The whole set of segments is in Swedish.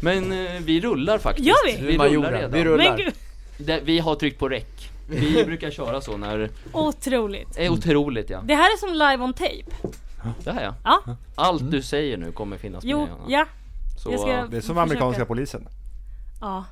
Men eh, vi rullar faktiskt. Gör vi? Vi Majoren, rullar redan. vi rullar. Men gud, Det, vi har tryckt på räck. Vi brukar köra så när, det otroligt. är otroligt ja. Det här är som live on tape. Det här ja. Ja, Allt du säger nu kommer finnas jo, med Johanna. ja. Så, jag ska Det är som försöka. amerikanska polisen. Ja.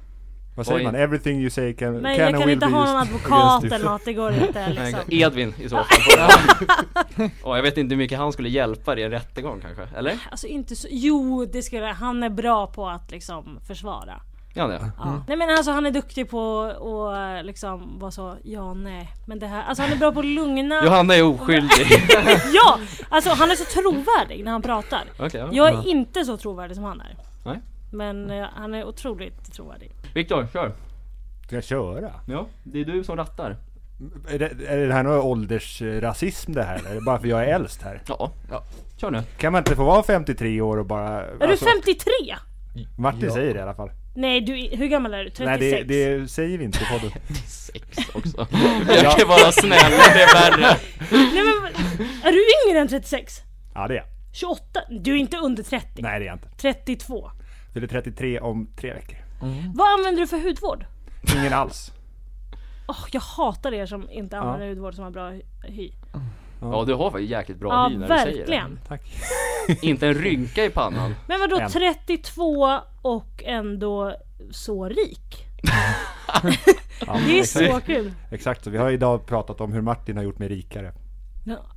Vad säger Oj. man? Everything you say can, Men can jag and kan will inte be ha någon used advokat against you. eller något, det går inte liksom. Edvin i så fall. Och jag vet inte hur mycket han skulle hjälpa dig i en rättegång kanske, eller? Alltså inte så, jo det skulle han är bra på att liksom försvara. Ja, det. Ja. Mm. Nej men alltså han är duktig på att liksom vara så, ja nej. Men det här, alltså han är bra på att lugna. Johanna är oskyldig. ja! Alltså han är så trovärdig när han pratar. Okej, ja. Jag är inte så trovärdig som han är. Nej. Men eh, han är otroligt trovärdig. Viktor, kör. Ska jag köra? Ja, det är du som rattar. Är det, är det här någon åldersrasism det här eller? Är det Bara för jag är äldst här? Ja. Kör nu. Kan man inte få vara 53 år och bara... Alltså, Är du 53? Martin Ja. säger det i alla fall. Nej du, är- hur gammal är du? 36? Nej det, det säger vi inte i podden. Sex också. Jag kan vara snäll, det är värre. Nej men, är du yngre än 36? Ja det är jag. 28? Du är inte under 30? Nej det är jag inte. 32? Fyller 33 om tre veckor. Vad använder du för hudvård? Ingen alls. Åh, jag hatar er som inte använder hudvård som har bra hy. Ja, du har faktiskt jäkligt bra Ja, hy när du säger det. verkligen. Tack. Inte en rynka i pannan. Men vadå En. 32 och ändå så rik? Det är exakt, så kul. exakt så. Vi har idag pratat om hur Martin har gjort mig rikare.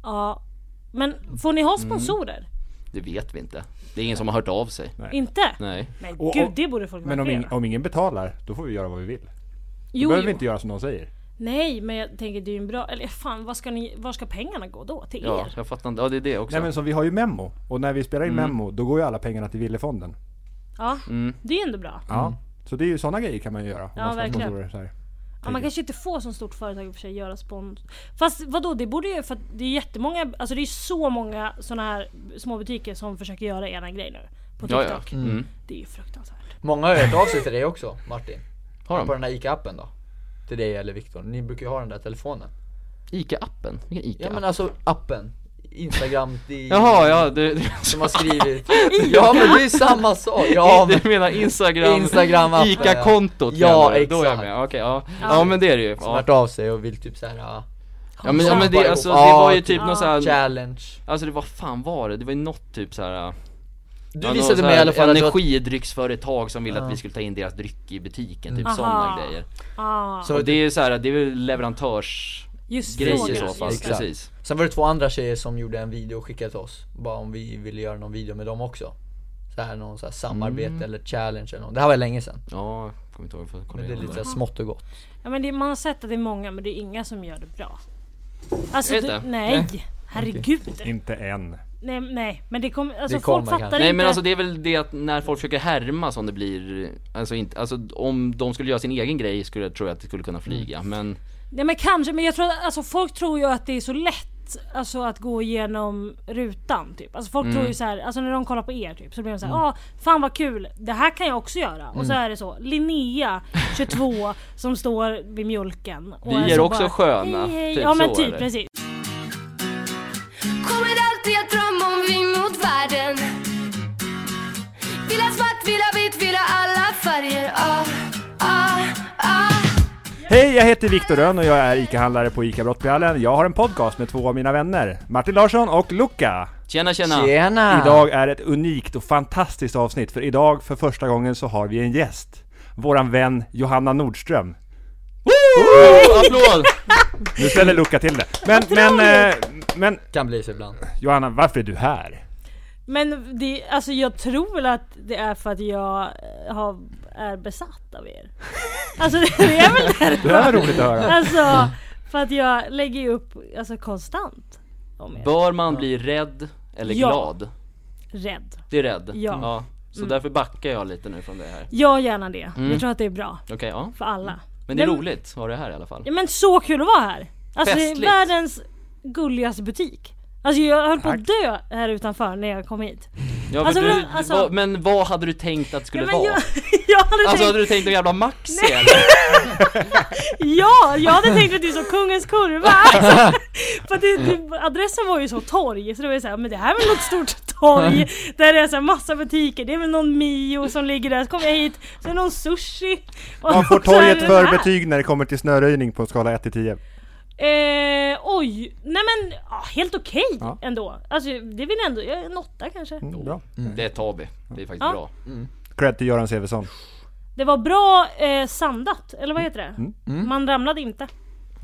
Ja. Men får ni ha Mm. sponsorer? Det vet vi inte. Det är ingen som har hört av sig. Nej. Inte? Nej. Men Och- gud, och- det borde folk Men om, verkligen ing- om ingen betalar, då får vi göra vad vi vill. Då Jo, behöver vi jo. inte göra som någon säger. Nej, men jag tänker det är ju en bra... Eller fan, var ska, ni, var ska pengarna gå då? Till Ja, er? jag fattar inte. Ja, det är det också. Nej men så vi har ju Memo. Och när vi spelar in Memo, då går ju alla pengarna till Villefonden. Ja, Mm. det är ju ändå bra. Ja. Så det är ju sådana grejer kan man ju göra. om Ja, man ska ha verkligen. sponsorer Så här. Ja, man kanske inte får som stort företag i och för sig göra spons. Fast vadå, det borde ju för att det är jättemånga, alltså det är så många såna här små butiker som försöker göra ena grej nu. På Ja, TikTok. ja. Mm. Det är ju fruktansvärt. Många har hört av sig till dig också Martin. Har På de? den här ICA-appen då. Till dig eller Viktor. Ni brukar ju ha den där telefonen. ICA-appen? Vilken ICA? Ja men alltså appen. Instagram, det Jaha, ja du, du, som har skrivit. ja men det är samma sak. Ja men du menar Instagram, Instagram-appen, ICA-kontot? ja. menar du? Ja, Då är jag exakt. med, okej ja. ja men det är det ju. som Ja, har hört av sig och vill typ såhär, ja, ja, men, ja, men det, alltså, det Ja, var ju typ ja. någon sån här, challenge. alltså det, vad fan var det? Det var ju något typ såhär Du visade mig i alla fall att du har- Energidrycksföretag som ville att vi skulle ta in deras dryck i butiken, typ Aha. sådana grejer. Ah, så Och det är ju såhär, det är väl leverantörsgrejer just i frågor. så fall, Just det. Exakt. precis. Sen var det två andra tjejer som gjorde en video och skickade till oss. Bara om vi ville göra någon video med dem också. Så här någon så här samarbete Mm. eller challenge eller något. Det här var länge sedan. Ja, jag kommer inte ihåg, jag får kolla Men det är igenom lite det. så här smått och gott. Ja, men det, man har sett att det är många men det är inga som gör det bra. Alltså, Är det det, inte? nej. Herregud. Inte än. Nej, nej, men det kommer, alltså folk Det kommer fattar kanske. inte. Nej men alltså det är väl det att när folk försöker härma som det blir, alltså, inte, alltså om de skulle göra sin egen grej skulle jag tro att det skulle kunna flyga Mm. men Nej men kanske, men jag tror att alltså, folk tror ju att det är så lätt Alltså att gå igenom rutan typ. Alltså folk Mm. tror ju så här, alltså när de kollar på er typ så blir de såhär, ah fan vad kul, det här kan jag också göra. Och Mm. så är det så, Linnea 22 som står vid mjölken. Och Vi är så också sköna, Hej, hej. typ ja men så, typ eller? precis. Kommer alltid att drömma om vi mot världen Vill ha svart, vill ha vitt, vill ha alla färger ah, ah, ah. Hej, jag heter Viktor Rönn och jag är ICA-handlare på ICA Brottbyhallen. Jag har en podcast med två av mina vänner, Martin Larsson och Luca. tjena tjena! Tjena! Idag är ett unikt och fantastiskt avsnitt, för idag för första gången så har vi en gäst. Våran vän Johanna Nordström. Woo! Applåd! Nu ställer Luca till det. Men, men, eh, men Kan bli så ibland. Johanna, varför är du här? Men det, alltså jag tror väl att det är för att jag eh, har, är besatt av er. Alltså det är väl det. Det här var roligt att höra. Alltså för att jag lägger ju upp alltså, konstant om er. Bör man bli rädd eller Ja. glad? Rädd. Det är rädd? Ja. Mm. Så därför backar jag lite nu från det här. Ja gärna det. Mm. Jag tror att det är bra Okej, ja. för alla. Men det är Men- roligt att ha det här i alla fall. Ja, men så kul att vara här! Alltså det är Festligt. världens gulligaste butik. Alltså jag höll på att dö här utanför när jag kom hit. Ja, men, Alltså, du, men, alltså- vad, men vad hade du tänkt att det skulle Ja, men vara? jag, jag hade Alltså hade tänkt, du tänkt en jävla Maxi eller? ja, jag hade tänkt att det är så Kungens Kurva! Alltså, för att det, det, adressen var ju så torg, så det var ju såhär, men det här är väl något stort torg där det är så här massa butiker. Det är väl någon Mio som ligger där. Så kommer jag hit, så är det någon sushi. Och Vad får så är det torget den för här. betyg när det kommer till snöröjning på en skala 1 till 10? Mm, Eh, oj, nej men ah, helt okej Ja. ändå. Alltså det vill jag ändå, jag- en åtta kanske. Mm, bra. Det tar vi. Det är faktiskt Ja. bra. Cred till Göran Sevesson. Det var bra eh, sandat, eller Mm. vad heter det? Man ramlade inte.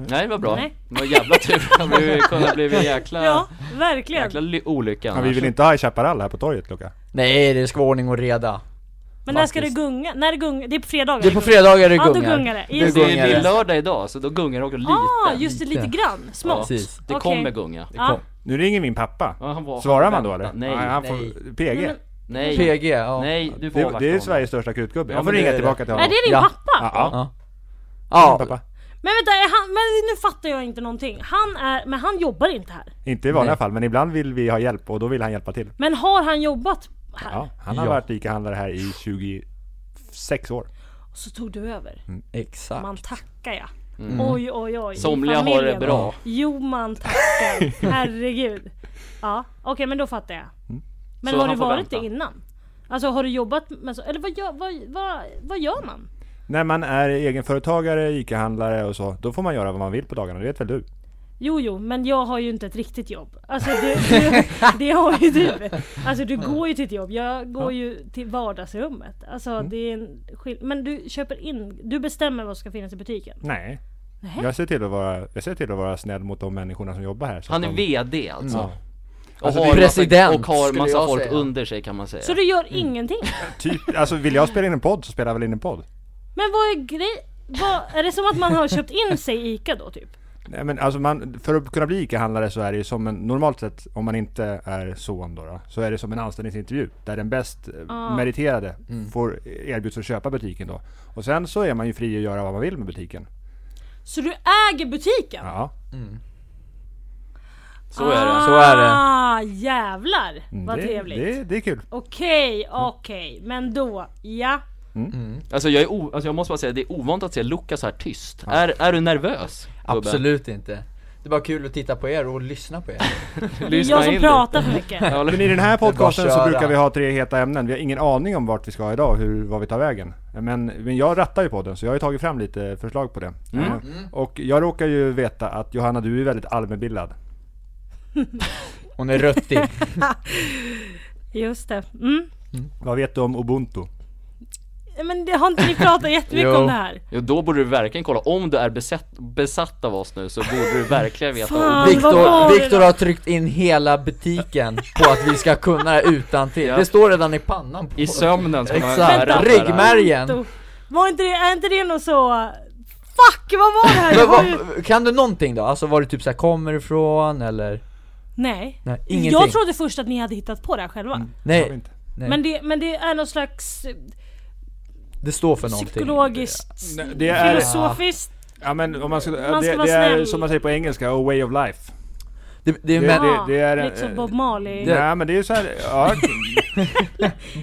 Nej, det var bra. Nej. Det var jävla tur. Det hade kunnat bli en jäkla, Ja, verkligen. jäkla ly- olycka Ja, vi vill inte ha High Chaparral här på torget Luca. Nej det ska vara ordning och reda. men när ska det faktiskt. gunga? När det gunga? Det är på fredagar. Det är på fredagar det Ja, då gungar. gungar det. Då Just Alltså, Det är, det är gungar det. lördag idag, så då gungar det också lite. Ah, just det, lite Lite. grann. Ja, Smått. precis. Det Okej. kommer gunga. Ja. Nu ringer min pappa. Ja, han var- Svarar han man då väntar. eller? Nej, Nej han nej. får PG. Nej, PG, ja. nej du får Det, avvakta det är honom. Sveriges största krutgubbe. Ja, Jag får men det ringa är tillbaka det. till Är honom. det din Ja. pappa? Ja, ja. Ja. Pappa. Ja, Men vänta, är han, men nu fattar jag inte någonting. Han är, men han jobbar inte här. Inte i vanliga Nej. fall, men ibland vill vi ha hjälp och då vill han hjälpa till. Men har han jobbat här? Ja, han har Ja. varit ICA-handlare här i 26 år. Och så tog du över. exakt. Man tackar ja. Oj oj oj. Somliga har det Familjen. bra. Jo man tackar. Herregud. Ja, okej men då fattar jag. Men Så har han du får varit vänta. det innan? Alltså har du jobbat med så, eller vad gör, vad, vad, vad gör man? När man är egenföretagare, ICA-handlare och så, då får man göra vad man vill på dagarna, det vet väl du? Jo jo, men jag har ju inte ett riktigt jobb. Alltså du, du, det har ju du. Alltså du går ju till ett jobb. Jag går ju till vardagsrummet. Alltså det är en skill- Men du köper in, du bestämmer vad som ska finnas i butiken. Nej. Jag ser till att vara, jag ser till att vara snäll mot de människorna som jobbar här. så Han att är de- VD alltså. Ja. Och, Alltså, har Mm. president, massa, och har skulle massa jag folk säga. under sig kan man säga. Så du gör ingenting? Typ, alltså vill jag spela in en podd så spelar jag väl in en podd. Men vad är grej... Vad, är det som att man har köpt in sig i ICA då typ? Nej men alltså man, för att kunna bli ICA-handlare så är det ju som en, normalt sett om man inte är son då, då så är det som en anställningsintervju där den bäst eh, meriterade Mm. får erbjuds att köpa butiken då. Och sen så är man ju fri att göra vad man vill med butiken. Så du äger butiken? Ja. Så är det. Så är det. Ah, jävlar vad Mm, det, trevligt. Det, det är kul. Okej, okej, men då, ja. Alltså jag, är o, alltså jag måste bara säga, det är ovant att se Lukas så här tyst. Är, är du nervös? gubben? Absolut inte. Det är bara kul att titta på er och lyssna på er. Det är Lyssna jag som in lite. pratar för mycket. Ja, Men i den här bara podcasten så köra. brukar vi ha tre heta ämnen. Vi har ingen aning om vart vi ska idag, hur, vad vi tar vägen. Men, men jag rattar ju podden så jag har ju tagit fram lite förslag på det. Eh, Och jag råkar ju veta att Johanna du är väldigt allmänbildad. Hon är röttig. Just det. Mm. Vad vet du om ubuntu? Men det har inte ni pratat jättemycket Jo. om det här? Jo, då borde du verkligen kolla, om du är besatt, besatt av oss nu så borde du verkligen veta Fan. om vad var Viktor, det Viktor har tryckt in hela butiken på att vi ska kunna det utan till. Ja. Det står redan i pannan på I sömnen ska man Exakt. höra det här. Ryggmärgen! Då- Var inte det, är inte det något så... Fuck, vad var det här? Men Jag har ju- vad, kan du någonting då? Alltså var det typ såhär, kommer ifrån eller? Nej. Nej, ingenting. Jag trodde först att ni hade hittat på det här själva. Det har vi Nej, inte. nej. Men, det, men det är någon slags det står för någonting. psykologiskt, Nej, det är- filosofiskt. Ja men om man ska, Man ska det, vara det är snäll. som man säger på engelska, a way of life. Det, det är Det- med Ja, det är en- liksom Bob Marley. Nej men det är ju så här, ja,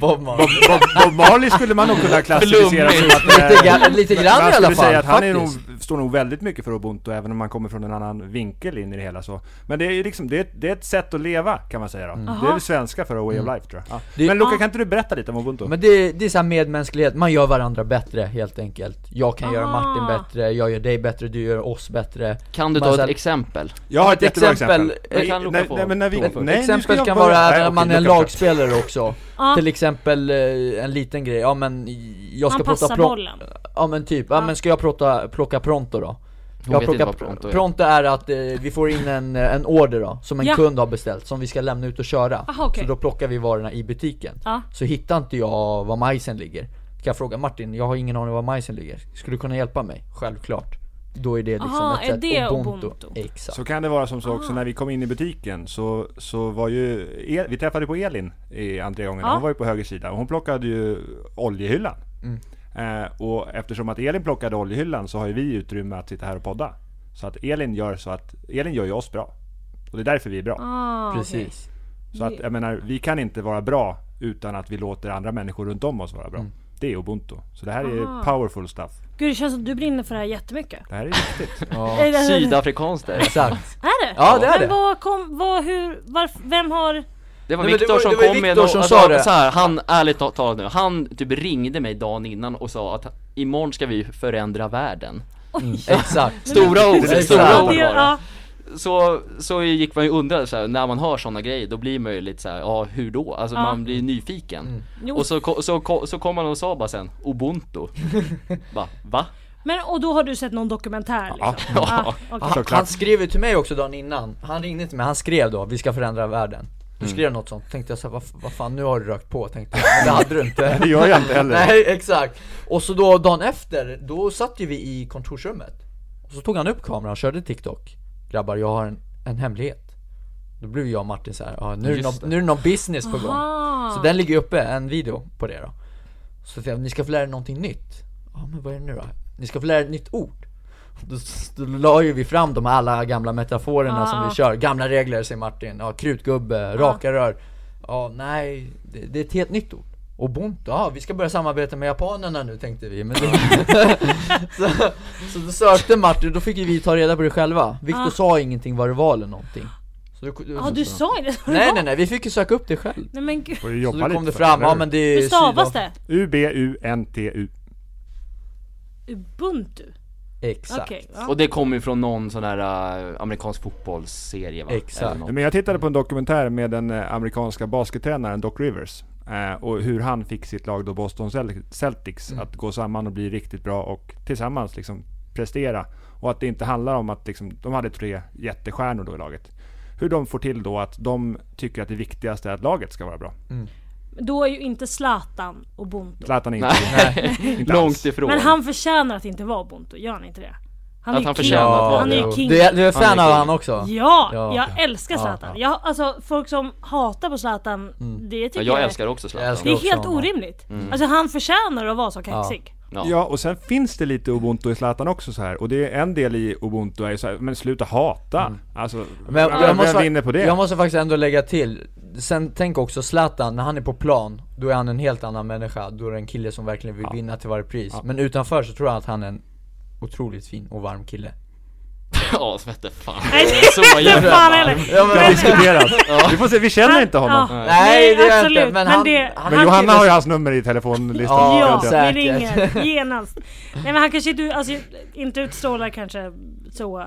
Bob Marley. Bob, Bob Marley skulle man nog kunna klassificera som att... eh, Lite, ga- lite grann i jag alla skulle fall, säga att han är nog, faktiskt. står nog väldigt mycket för ubuntu även om man kommer från en annan vinkel in i det hela så. Men det är ju liksom, det är, det är ett sätt att leva kan man säga då. Mm. Det är Aha. det svenska för a way of life tror jag. Det- Men Luca Ja. kan inte du berätta lite om ubuntu? Men det, det är såhär medmänsklighet, man gör varandra bättre helt enkelt. Jag kan göra Aha. Martin bättre, jag gör dig bättre, du gör oss bättre. Kan du Man ta så här- ett exempel? jag har ett ett jättebra exempel. exempel- Jag kan Luca nej, få. nej, men när vi, Ett nej, nu ska exempel jag kan börja- vara nej, när okej, man är en Luca, fortsätt. lagspelare också. Ja. Till exempel eh, en liten grej, ja men jag ska Han plocka passar pronto. bollen. Ja men typ, ja men ska jag plocka, plocka pronto då? vet inte plockar- vad pronto är. pronto är att eh, vi får in en, eh, en order då, som en Ja. kund har beställt, som vi ska lämna ut och köra. Aha, okej. Så då plockar vi varorna i butiken. Ja. Så hittar inte jag var majsen ligger. Kan jag fråga Martin, jag har ingen aning var majsen ligger. Skulle du kunna hjälpa mig? Självklart. Då är det liksom Aha, ett är sätt- det ubuntu. ubuntu? Exakt. Så kan det vara som så Ah. också när vi kom in i butiken så, så var ju, El, vi träffade på Elin i entrégången, Ja. hon var ju på höger sida och hon plockade ju oljehyllan. Mm. Eh, och eftersom att Elin plockade oljehyllan så har ju vi utrymme att sitta här och podda. Så att Elin gör så att, Elin gör ju oss bra. Och det är därför vi är bra. Ah, okej. Precis. Så att jag menar, vi kan inte vara bra utan att vi låter andra människor runt om oss vara bra. Mm. Det är ubuntu. Så det här Ah. är powerful stuff. Gud det känns som att du brinner för det här jättemycket. Det här är viktigt. Är det- Sydafrikanskt där. Exakt. Är det? Ja, det är Men det. vad kom, vad, hur, varf, vem har... Det var Nej, men det Viktor var- som det var kom med Viktor och, som och, sa det. så här, han, ärligt ta- talat nu, han typ ringde mig dagen innan och sa att imorgon ska vi förändra världen. Exakt. Stora ord, det är stora klart. ord det, var det. ja. Så, så gick man ju undra så här, när man hör sådana grejer, då blir man ju lite så här, ja hur då? Alltså Ja. man blir nyfiken. Mm. Jo. Och så, ko- så, ko- så kom han och sa bara sen, ubuntu. Va? Va? Men och då har du sett någon dokumentär liksom? Ja. Ah, okej. Han, Såklart. han skrev ju till mig också dagen innan. Han ringde till mig, han skrev då 'Vi ska förändra världen' Du skrev något sånt, tänkte jag så här, vad, vad fan nu har du rökt på tänkte jag, men det hade du inte Det gör jag inte heller. Nej exakt! Och så då dagen efter, då satt ju vi i kontorsrummet Och så tog han upp kameran och körde TikTok Grabbar, jag har en, en hemlighet Då blev jag och Martin så här, ah, nu, är det Just någon, det. nu är det någon business på gång Ah. Så den ligger ju uppe, en video på det då Så tänkte jag, ni ska få lära er någonting nytt Ja men vad är det nu då? Ni ska få lära er ett nytt ord då, då la ju vi fram de här alla gamla metaforerna Ah. som vi kör, gamla regler säger Martin, ja krutgubbe, raka rör Ja nej, det, det är ett helt nytt ord Ubuntu, ja vi ska börja samarbeta med japanerna nu tänkte vi men då, så, så då sökte Martin, då fick ju vi ta reda på det själva Viktor Ah. sa ingenting vad det var eller någonting så då, Ja du sa ju det. Nej nej nej, vi fick ju söka upp det själv Nej men gud. Får ju så jobba då kom lite det för fram, eller ja hur? men det är Hur stavas Sydaf- det? U-B-U-N-T-U. Ubuntu? Exakt Okej. ja. Och det kom ju från någon sån här äh, amerikansk fotbollsserie va? Exakt. Eller något. Men jag tittade på en dokumentär med den eh, amerikanska baskettränaren Doc Rivers. eh, Och hur han fick sitt lag då Boston Cel- Celtics Mm. att gå samman och bli riktigt bra och tillsammans liksom prestera. Och att det inte handlar om att liksom, de hade tre jättestjärnor då i laget. Hur de får till då att de tycker att det viktigaste är att laget ska vara bra. Då är ju inte Zlatan ubuntu. Zlatan är inte Nej, Inte alls. långt ifrån. Men han förtjänar att inte vara ubuntu, gör han inte det? Han Att ju han king. förtjänar att vara Han är det. ju king. Du är, du är Han är fan av king. han också? Ja, Ja. jag älskar Zlatan. Jag, alltså folk som hatar på Zlatan, det ja, tycker jag älskar Mm. också Mm. Jag Zlatan. älskar Det är också helt honom. orimligt. Alltså han förtjänar att vara så kaxig. Ja, och sen finns det lite ubuntu i Zlatan också så här. Och det är en del i ubuntu är ju så här, men sluta hata. Alltså, Mm. Men vem, jag, måste, vem vinner på det? jag måste faktiskt ändå lägga till, sen tänk också Zlatan, när han är på plan, då är han en helt annan människa, då är det en kille som verkligen vill vinna till varje pris Men utanför så tror jag att han är en otroligt fin och varm kille Ja, som hette fan. Nej det Så är inte jävla fan heller. ja, men, Vi har diskuterat. Vi får se, vi känner inte honom. Ja. Nej det är jag absolut, inte, men men han, det- han Men är en Johanna kille har ju som- hans nummer i telefonlistan. Ja, Ja, vi säkert. ringer genast. Nej men han kanske inte, alltså, inte utstrålar kanske så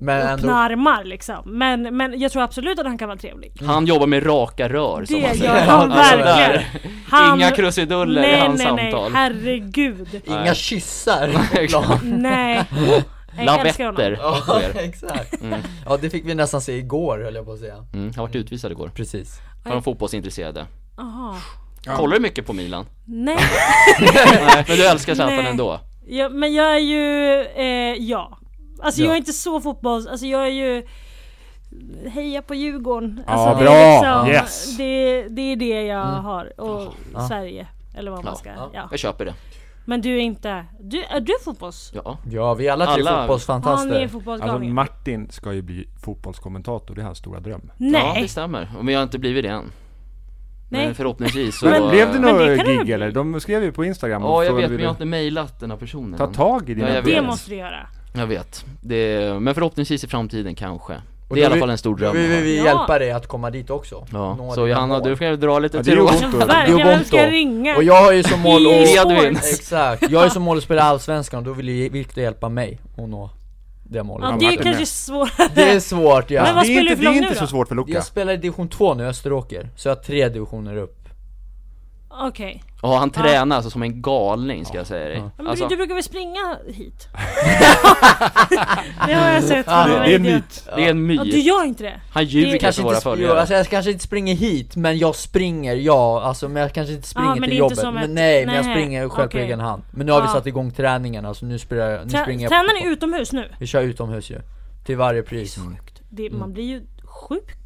Men öppna ändå, armar liksom. Men, men jag tror absolut att han kan vara trevlig. Han jobbar med raka rör som Det man säger. gör han Alltså, där. verkligen. Han- Inga krusiduller i nej, hans nej, nej, samtal. herregud. inga kyssar på Exakt. plan Nej. Jag älskar Lavetter honom. Ja sker. exakt, ja det fick vi nästan se igår höll jag på att säga Mm, har varit utvisad igår. Precis För de fotbollsintresserade. Aha. Kollar du mycket på Milan? Nej. Nej, men du älskar Zlatan Nej. ändå? Ja, men jag är ju, eh, ja. Alltså jag Ja. är inte så fotbolls, alltså jag är ju Heja på Djurgården. Ja, Alltså, bra. Det är, Yes. det, det är det jag har. Och Ja. Sverige. Eller vad man ska, Ja. ja. Jag köper det. Men du är inte, du, är du fotbolls? Ja. Ja vi är alla tre Alla- Ja, ni är fotbollsfantaster Alltså fotbollsgalningar. Martin ska ju bli fotbollskommentator, det är hans stora dröm. ja, det Nej, stämmer. Men jag har inte blivit det än. Nej. Men förhoppningsvis så... Men blev det men det några kan det gig bli. eller? De skrev ju på Instagram Ja, jag frågade vet, vi men jag har dig. inte mejlat den här personen Ta än. tag i dina Ja, jag det vet. problem. måste du göra. Jag vet. Det, men förhoppningsvis i framtiden kanske. Och Det är i då alla vi- fall en stor dröm. Vi vill vi Ja. hjälpa dig att komma dit också Ja. Nå Så dina Johanna, mål. du får dra lite Ja, det är ju tråd. Ubuntu. Verkligen, Det är vem ska Ubuntu. ringa? Och jag har ju som mål EA att... Edvin. Sports. Exakt, jag har ju som mål att spela Allsvenskan och då vill ju Viktor hjälpa mig att nå det Ja, målet det Martin är med. kanske svårare. Det är svårt Men Det ja vad är spelar inte, du för det är lag nu inte så då? svårt för Luka. Jag spelar i division 2 nu, Österåker, så jag har tre divisioner upp Okej. Ja, han tränar alltså som en galning ska jag säga dig. Ja, Men Alltså, du, du brukar väl springa hit? det har jag sett. på dina Det, det är en videor. myt. det är en Ja, du myt. gör inte det? Han ljuger för våra inte, sp- jo, följare. alltså jag kanske inte springer hit, men jag springer, ja, alltså men jag kanske inte springer Ah, men det är till inte jobbet som ett- men, Nej, men jag nej, springer själv på okej. egen hand Men nu har vi Ah. satt igång träningarna, så nu, spelar jag, nu Trä, springer jag tränar ni utomhus nu? Vi kör utomhus ju, till varje pris Mm. Det, Man blir ju sjuk.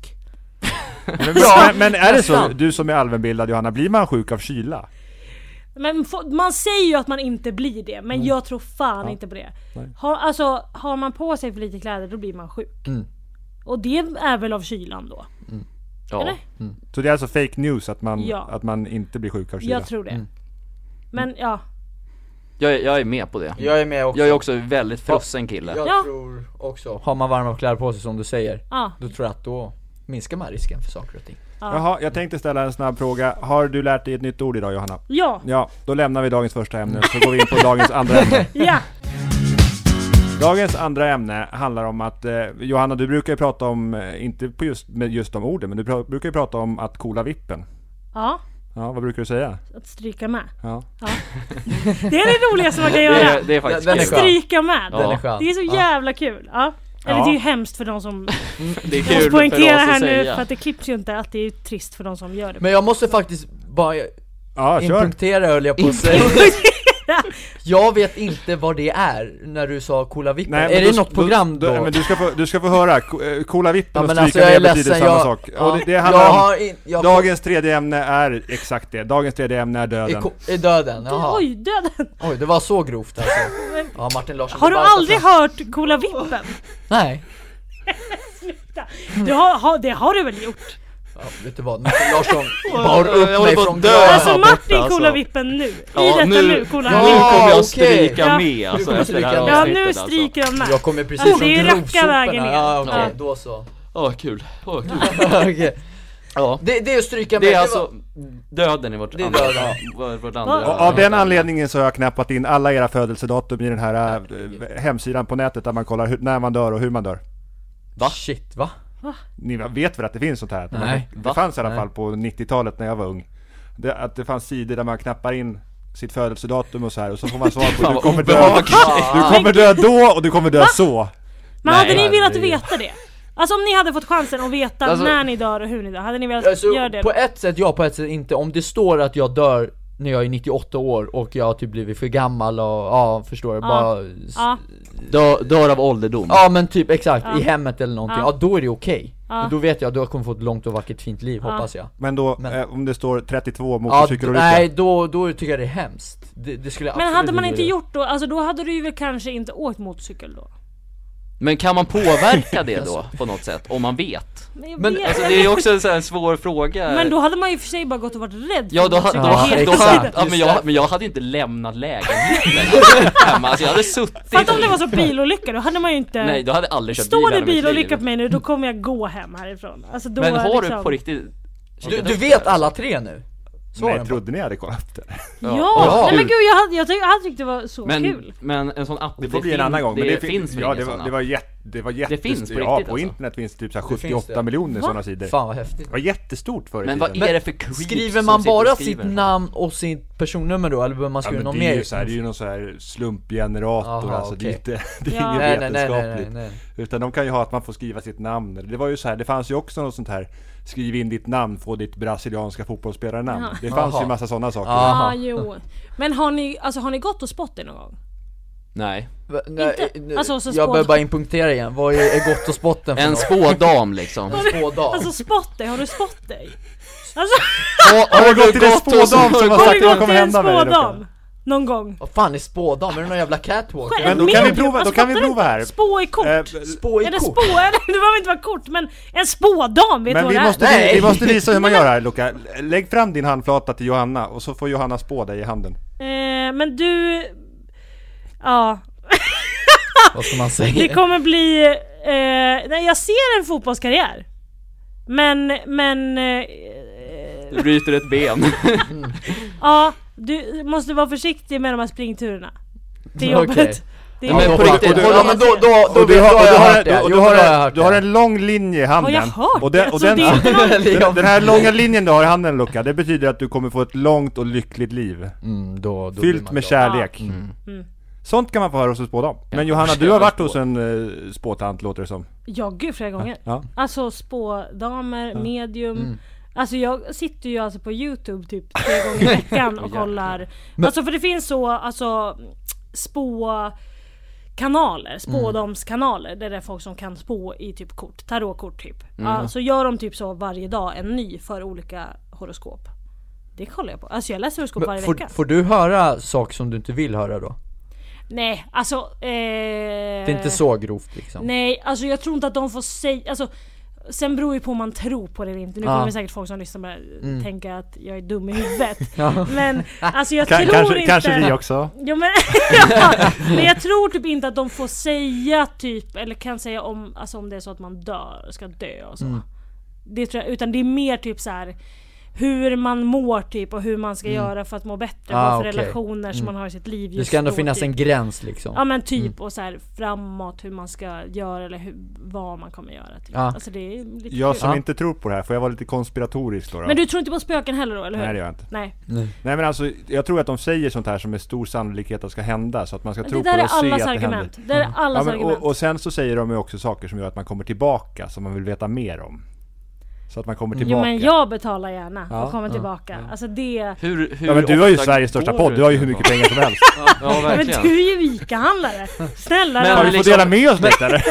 Men, men, men är det så, Nästan. du som är allmänbildad Johanna, blir man sjuk av kyla? Men få- man säger ju att man inte blir det, men jag tror fan inte på det. Har, alltså, har man på sig för lite kläder då blir man sjuk. Och det är väl av kylan då? Ja. Eller? Så det är alltså fake news att man, Ja. att man inte blir sjuk av kyla? Jag tror det. Men ja, Jag, jag är med på det. Jag är med också Jag är också en väldigt frossen kille. Jag Ja. tror också, har man varma kläder på sig som du säger, ja. då tror jag att då minskar man risken för saker och ting. Jaha, jag tänkte ställa en snabb fråga. Har du lärt dig ett nytt ord idag Johanna? Ja, Ja, då lämnar vi dagens första ämne så går vi in på dagens andra ämne. ja. Dagens andra ämne handlar om att eh, Johanna, du brukar ju prata om, eh, inte på just, med just de orden, men du pra- brukar ju prata om att coola vippen. Ja, Ja, vad brukar du säga? att stryka med. Ja. Det är det roligaste man kan Det är, göra. det är faktiskt Den- den är kul. skön. Stryka med. Ja. Den är skön. Det är så Ja. jävla kul. Ja. Eller Ja. det är ju hemskt för de som... Det är Jag måste kul för poängtera oss här att nu för säga. att det klipps ju inte att det är trist för de som gör det. Men jag måste faktiskt bara Ja, kör! impunktera höll jag på att säga. jag vet inte vad det är när du sa coola vippen. Nej, men är det då- något då- program då? då- men du, ska få, du ska få höra, Ko- eh, coola Ja, vippen men och alltså, stryka jag är med betyder ledsen, samma jag- sak. ja. Och det, det handlar jag om, har in, jag dagens tredje ämne är exakt det. Dagens tredje ämne är I, döden. ko- I döden, jaha. Oj. Oj, döden! det var så grovt alltså. Ja, Martin Larsson. Har det du var- aldrig hört Coola Vippen? Nej. Du har, har, det har du väl gjort? Ja, vet du vad, Martin Larsson bar jag upp håller mig på att från dö. graven. Alltså Martin borta, Coola alltså. Vippen nu! I Ja, detta nu- nu, Coola Nu Ja, Vippen! kommer jag okej. stryka Ja. med alltså kommer efter det stryka här med. Ja avsnittet nu alltså. stryker han med! Jag kommer precis Ja, från Alltså, det är racka grovsoporna. vägen ner. Ja, okej, Ja. då så. Ja, kul. Ja, kul. Okej. Ja. det, det är att stryka med. Det är var- alltså döden i vårt Det är andra, döden. vår- vårt Ja. andra Och av den anledningen så har jag knappat in alla era födelsedatum i den här eh, hemsidan på nätet där man kollar hur, när man dör och hur man dör. Va? Shit, va? Ni vet väl att det finns sånt här? Nej. Det Va? fanns i alla Nej. fall på 90-talet när jag var ung. Det, att det fanns sidor där man knappar in sitt födelsedatum och så här och så får man svar på Fan, du vad kommer dö, du kommer dö då och du kommer dö så. Men hade ni Nej, velat herregud. veta det? Alltså om ni hade fått chansen att veta Alltså- när ni dör och hur ni dör, hade ni velat Alltså, göra det? på ett sätt ja, på ett sätt inte. Om det står att jag dör när jag är 98 år och jag har typ blivit för gammal och ja, förstår du? Bara... s- Ja, Dö, dör av ålderdom. Ja men typ exakt, i hemmet eller någonting. Ja, Ja. då är det okej. Ja. Men Då vet jag, då kommer jag få ett långt och vackert fint liv, hoppas jag. Men då, Men- Eh, om det står 32 Ja, d- motorcykelolycka. nej, då, då tycker jag det är hemskt. Det, det skulle jag men absolut hade man inte göra. gjort då, alltså då hade du ju väl kanske inte åkt motorcykel då? Men kan man påverka det då på något sätt? Om man vet? Men, jag Men, vet- Alltså det är ju också en sån här svår fråga. men då hade man ju för sig bara gått och varit rädd Eh, Ja för då, ha- då, motorcykel ha- hela då, exakt. tiden. ha- ja, men, jag, men jag hade ju inte lämnat lägenheten hemma, alltså jag hade suttit Fatta om det var så bilolycka, då hade man ju inte... Nej, då hade jag aldrig kört Eh, bil Står det i hela mitt bilolycka liv. på mig nu, då kommer jag gå hem härifrån. Alltså, då Men är har liksom... du på riktigt kikat Du, du upp vet det? alla tre nu? Nej, den trodde ni jag hade kollat det? Ja! Ja. Nej men gud, jag, hade, jag, tyck, jag tyckte det var så Men, kul. men en sån app, Det får bli en annan gång. det, men det fin- finns väl ja, inga det var, det såna? var jätte, det var jätte, Det finns på Ja, riktigt på alltså. internet finns typ så här Det finns 78 det. miljoner sådana sidor. Fan vad häftigt. Det var jättestort förr i Men vad tiden. är det för creeps Skriver som man sitter och bara skriver? sitt namn och sitt personnummer då, eller behöver man Ja, skriva men någon det, är mer? ju så här, det är ju någon så här slumpgenerator Aha, alltså, det är, okej. inte, det är Ja. inget Nej, nej, nej, vetenskapligt. nej, nej, nej. Utan de kan ju ha att man får skriva sitt namn. Det var ju så här, det fanns ju också något sånt här Skriv in ditt namn, få ditt brasilianska fotbollsspelarnamn. Det fanns Aha. ju massa sådana saker. Ja. Ja, Aha. jo. Men har ni, alltså, har ni gått och spott det någon gång? Nej, Va- nej, eh, Inte? nu- Alltså, så jag spå- behöver bara impunktera igen, vad är, är gott och spotten för en något? spådam liksom En spådag. Alltså spott dig, har du spått dig? Alltså, Har, Har du gått till en och- spådam som har har sagt du gått vad kommer till en hända med dig? Luka? spådam? Någon gång? Vad fan är spådam? Är det någon jävla catwalk? Själv- Men då Med kan vi typ. prova, då Alltså, kan vi fattar du prova här. Spå i kort? Eh, Spå i Eller kort? spå, eller, det behöver inte vara kort men en spådam, vet du Men vad vi det är? måste, Nej. vi måste visa hur man gör här Luca. Lägg fram din handflata till Johanna och så får Johanna spå dig i handen. Eh, men du... Ja, Vad ska man det säga? kommer bli... Eh, nej, jag ser en fotbollskarriär. Men, men... eh, Du bryter ett ben. Ja, du måste vara försiktig med de här springturerna. Det är jobbigt. Okej. Det är Ja, men jobbigt. på riktigt, och då, och ja, då- men då, då, då, Och vet- då har jag hört det, och jo, du då har jag har, hört du har det en lång linje i Har jag handen. hört och det? den, och Alltså, den, det är inte någon... den, den här långa linjen du har i handen Luca, det betyder att du kommer få ett långt och lyckligt liv. Mm, då, då blir Fyllt man med glad. kärlek. Mm. Sånt kan man få höra hos en spådam. Men Johanna, du har varit hos en eh, spåtant låter det som. Ja, gud flera gånger. Ja. Alltså spådamer, medium. Mm. Alltså jag sitter ju alltså på youtube typ tre gånger i veckan och kollar. Alltså för det finns så, alltså spå Mm. kanaler, spådomskanaler där det är folk som kan spå i typ kort, tarotkort typ. Mm. Ja, så gör de typ så varje dag en ny för olika horoskop. Det kollar jag på. Alltså jag läser horoskop Men varje får, vecka. får du höra saker som du inte vill höra då? Nej, alltså... Eh... Det är inte så grovt liksom? Nej, alltså jag tror inte att de får säga... Alltså, sen beror ju på om man tror på det eller inte. Nu Ja. Mm. kommer det säkert folk som lyssnar med tänka att jag är dum i huvudet. Men alltså jag Ka- tror kanske, inte... kanske vi också. Ja, men, ja, men jag tror typ inte att de får Mm. säga typ, eller kan säga om, alltså om det är så att man dör, ska dö och så. Det tror jag, utan det är mer typ så här hur man mår typ och hur man ska göra för att må bättre. Mm. Ah, vad för okej. Mm. relationer som man har i sitt liv just Det ska ändå då, finnas typ. en gräns liksom. Ja men typ Mm. och så här framåt hur man ska göra eller hur, vad man kommer göra. Typ. Ja. Alltså det är lite Jag kul. som Ja. inte tror på det här, får jag vara lite konspiratorisk då? då? Men du tror inte på spöken heller då eller hur? Nej det gör jag inte. Nej. Nej men alltså, jag tror att de säger sånt här som med stor sannolikhet att ska hända. Så att man ska Det tro på där det är och se att allas det argument. händer. Det där är allas ja, men, argument. och, och sen så säger de ju också saker som gör att man kommer tillbaka, som man vill veta mer om. Så att man kommer tillbaka. jo men jag betalar gärna Ja, och kommer tillbaka. Alltså det... Hur, hur ja, men du har ju ofta Sveriges största går podd, du har ju hur till mycket pengar som helst. en sån? Ja, ja Men verkligen. du är ju ICA-handlare! Snälla Men- rara. Har vi fått liksom- dela med oss lite eller?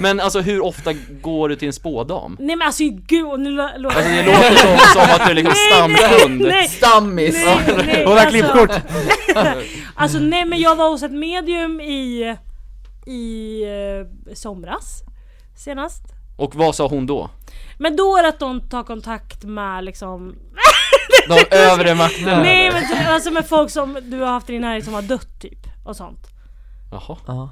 Men alltså hur ofta går du till en spådam? Nej men alltså gud, och nu lå- låter Alltså det låter som, som att du är liksom stamkund. Nej, Stammis! nej, nej, Hon har klippkort! alltså nej men jag var hos ett medium i, i eh, somras senast. Och vad sa hon då? Men då är det att de tar kontakt med liksom De övre makterna? Nej eller? men typ, alltså med folk som du har haft i din närhet som har dött typ och sånt. Jaha. Ja.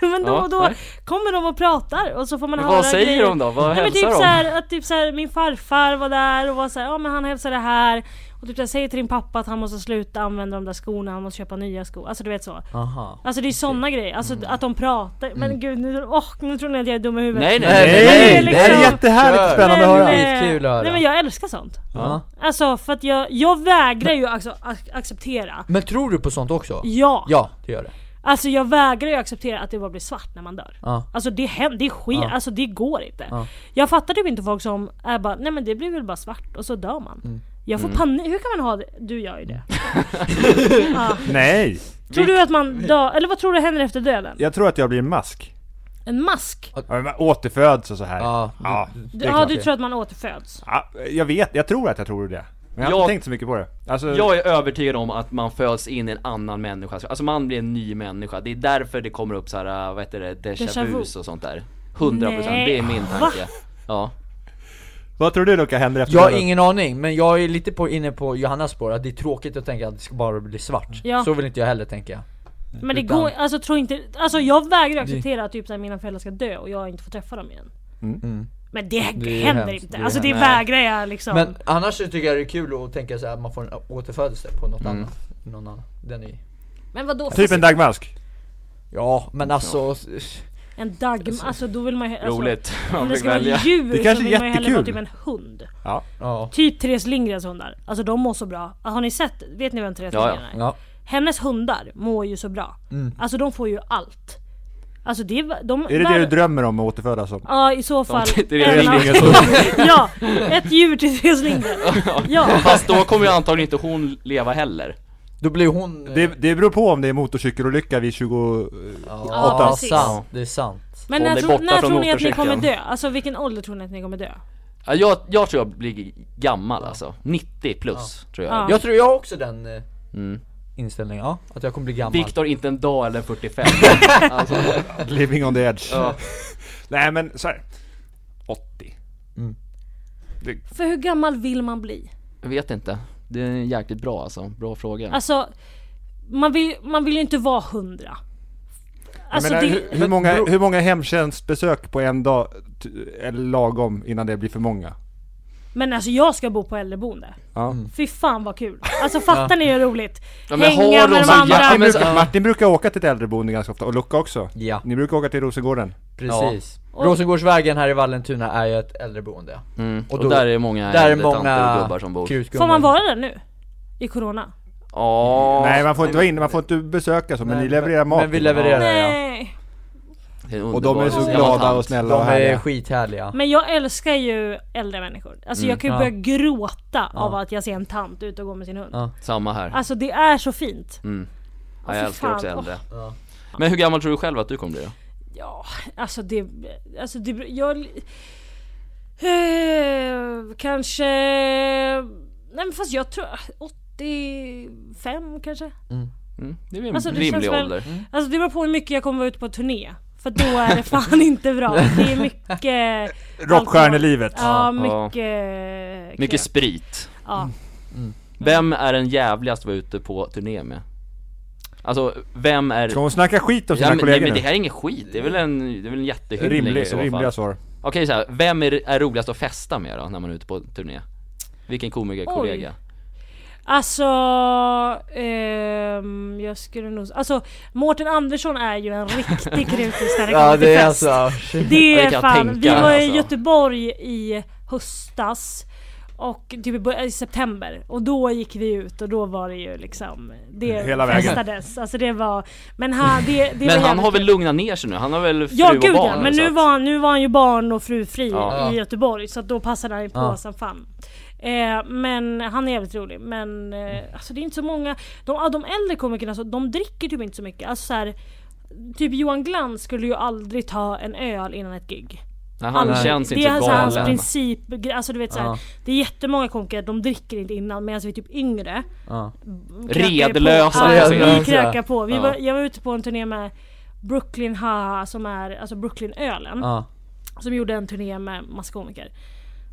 Men då, Ja, då nej. kommer de och pratar och så får man Men höra vad säger grejer. de då? Vad Nej, men hälsar typ de? så här, att typ så här, min farfar var där och var så här, ja men han hälsade här och typ så här, säger till din pappa att han måste sluta använda de där skorna, han måste köpa nya skor. Alltså du vet så. Aha. Alltså det är sådana grejer, alltså Mm. att de pratar. Men gud nu, åh, nu tror ni att jag är dum i huvudet. Nej, nej, Nej, nej, Nej! liksom- Det här är jättehärligt och Kör. spännande att Men, höra! eh, Skitkul att höra. Nej men jag älskar sånt. Ja. Alltså för att jag, jag vägrar ju alltså, ac- acceptera. Men tror du på sånt också? Ja. Ja, det gör det. Alltså jag vägrar ju acceptera att det bara blir svart när man dör. Ja. Alltså det händer, det sker, Ja. alltså det går inte. Ja. Jag fattar typ inte folk som är bara, nej men det blir väl bara svart och så dör man. Mm. Jag får panik, hur kan man ha det? Du gör ju det. ja. Nej! Tror du att man dör, eller vad tror du händer efter döden? Jag tror att jag blir en mask. En mask? Ja, men Återföds och så här. Ja. ja. Du, det är ja klart. du tror att man återföds? Ja, jag vet, jag tror att jag tror det. Men jag har Jag- inte tänkt så mycket på det. Alltså, Jag är övertygad om att man föds in i en annan människa, alltså man blir en ny människa. Det är därför det kommer upp så här, äh, vad heter det, Déjà déjà vu. vus och sånt där. 100% Nej. det är min tanke. Ja. Vad tror du Luca händer efter Jag har döden? ingen aning, men jag är lite på, inne på Johannas spår, att det är tråkigt att tänka att det ska bara bli svart. Ja. Så vill inte jag heller tänka. Men det Utan- går alltså tror inte, alltså jag vägrar acceptera att typ såhär, mina föräldrar ska dö och jag inte får träffa dem igen. Men det, Mm. Det är händer hemskt, inte, det är alltså det hemskt. vägrar jag liksom. Men annars så tycker jag det är kul att tänka så här, att man får en återfödelse på något annat. Någon annan. Den är men vadå? Typ en dagmask. Ja, men alltså... En dagm, alltså då vill man ju... Alltså, Roligt. Om Man det fick ska vara välja. djur Det så kanske är vill man ju hellre ha jättekul. typ en hund. Ja. Ja. Typ Therese Lindgrens hundar. Alltså de mår så bra. Ah, Har ni sett? Vet ni vem Therese Ja, ja. Lindgren är? Ja. Hennes hundar mår ju så bra. Alltså de får ju allt. Alltså det, är- de... Mm. Är det det du drömmer om att återfödas som? Ja i så fall. Therese en av- Lindgren ja, ett djur till Therese Lindgren. Ja. Fast då kommer ju antagligen inte hon leva heller. Då blir hon... Det, det beror på om det är motorcykelolycka vid eh, 20... Ja, ja, precis. sant. Det är sant. Men Håll när, dig tro, borta när från tror ni att ni motorcykeln. kommer dö? Alltså vilken ålder tror ni att ni kommer dö? Ja, Jag, jag tror jag blir gammal alltså. 90 plus tror jag. Ja. Jag tror jag har också den eh, inställningen, ja. Att jag kommer bli gammal. Viktor inte en dag eller 45. alltså, Living on the edge. ja. Nej men så här. 80. För hur gammal vill man bli? Jag vet inte. Det är jäkligt bra alltså. Bra fråga. Alltså, man vill, man vill ju inte vara hundra. Alltså jag menar, det... hur, hur, många, hur många hemtjänstbesök på en dag t- är lagom innan det blir för många? Men alltså jag ska bo på äldreboende. Ja. Fy fan vad kul. Alltså fattar ni hur roligt? Ja, men Hänga har med de de så andra. jävla- Martin, men så- brukar, Martin brukar åka till ett äldreboende ganska ofta, och Luca också. Ja. Ni brukar åka till Rosengården. Precis. Rosengårdsvägen här i Vallentuna är ju ett äldreboende. Mm. Och Och, då- där är många Där är äldre tanter och många gubbar som bor. krutgummor. Får man vara där nu? I Corona? Ja. Nej man får inte vara inne, man får inte besöka så, men Nej, ni levererar men- mat. Men vi levererar ja. Nej. det är en Och de är underbar så gammal glada tant. och snälla och De är härliga. skithärliga. Men jag älskar ju äldre människor. Alltså jag kan ju Mm. Ja. börja gråta av att jag ser en tant ute och går med sin hund. Ja. Mm. Samma här. Alltså det är så fint. ja, jag fy älskar fan. också äldre. Ja. Men hur gammal tror du själv att du kommer bli då? Ja, alltså det... Alltså det... Jag... Eh, kanske... Nej men fast jag tror... 85 kanske? Mm. Det är en Alltså, det rimlig känns väl- ålder. Alltså det beror på hur mycket jag kommer vara ute på turné. För då är det fan inte bra. Det är mycket... Rockstjärnelivet. Ja. Ja, mycket... Mycket sprit. Ja. Vem är den jävligast att vara ute på turné med? Alltså, vem är... Ska hon snacka skit om sina Ja, men, nej, kollegor men det nu? här är ingen skit, det är väl en, det är väl en jättehyllning i Rimlig, så fall. rimliga svar. Okej så här, vem är, är roligast att festa med då när man är ute på turné? Vilken komikerkollega? Alltså, ehm, jag skulle nog, alltså Mårten Andersson är ju en riktig krutis när det kommer Ja till det är fest. alltså, Det Ja, det är kan jag fan, tänka vi mig, var i alltså. Göteborg i höstas och typ i bör- i september och då gick vi ut och då var det ju liksom Det Hela vägen. festades, alltså det var Men han, det, det Men var han har väl jävligt kul. lugnat ner sig nu? Han har väl fru Ja och gud barn ja, nu, men så nu att- var, han- nu var han ju barn och frufri Ja. i Göteborg så att då passade han ju på Ja. som fan Eh, men han är jävligt rolig men eh, alltså det är inte så många De, ah, de äldre komikerna så, de dricker typ inte så mycket alltså så här, Typ Johan Glans skulle ju aldrig ta en öl innan ett gig Nej, han Aldrig. känns det inte är så alltså hans galen. princip, alltså du vet såhär, Ja. Det är jättemånga komiker, de dricker inte innan medan vi är typ yngre ja. krökar Redlösa alltså. på. på Ja, sin vi öl. krökar på. Vi Ja. var, jag var ute på en turné med Brooklyn Haha som är alltså Brooklyn-ölen ja. som gjorde en turné med massa komiker.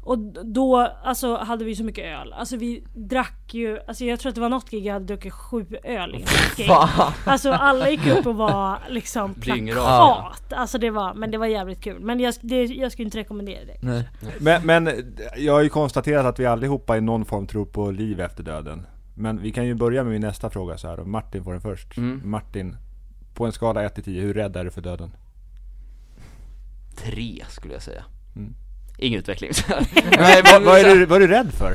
Och d- då alltså, hade vi så mycket öl. Alltså vi drack ju, alltså jag tror att det var något gig jag hade druckit sju öl innan ett gig. Fan. Alltså alla gick upp och var liksom Dyngraka. plakat. Alltså det var, men det var jävligt kul. Men jag, det, jag skulle inte rekommendera det. Nej. Men, men jag har ju konstaterat att vi allihopa i någon form tror på liv efter döden. Men vi kan ju börja med min nästa fråga så här. och Martin får den först. Mm. Martin, på en skala 1 till 10, hur rädd är du för döden? Tre skulle jag säga. Ingen utveckling. Mm. Nej, vad, vad, är du, vad är du rädd för?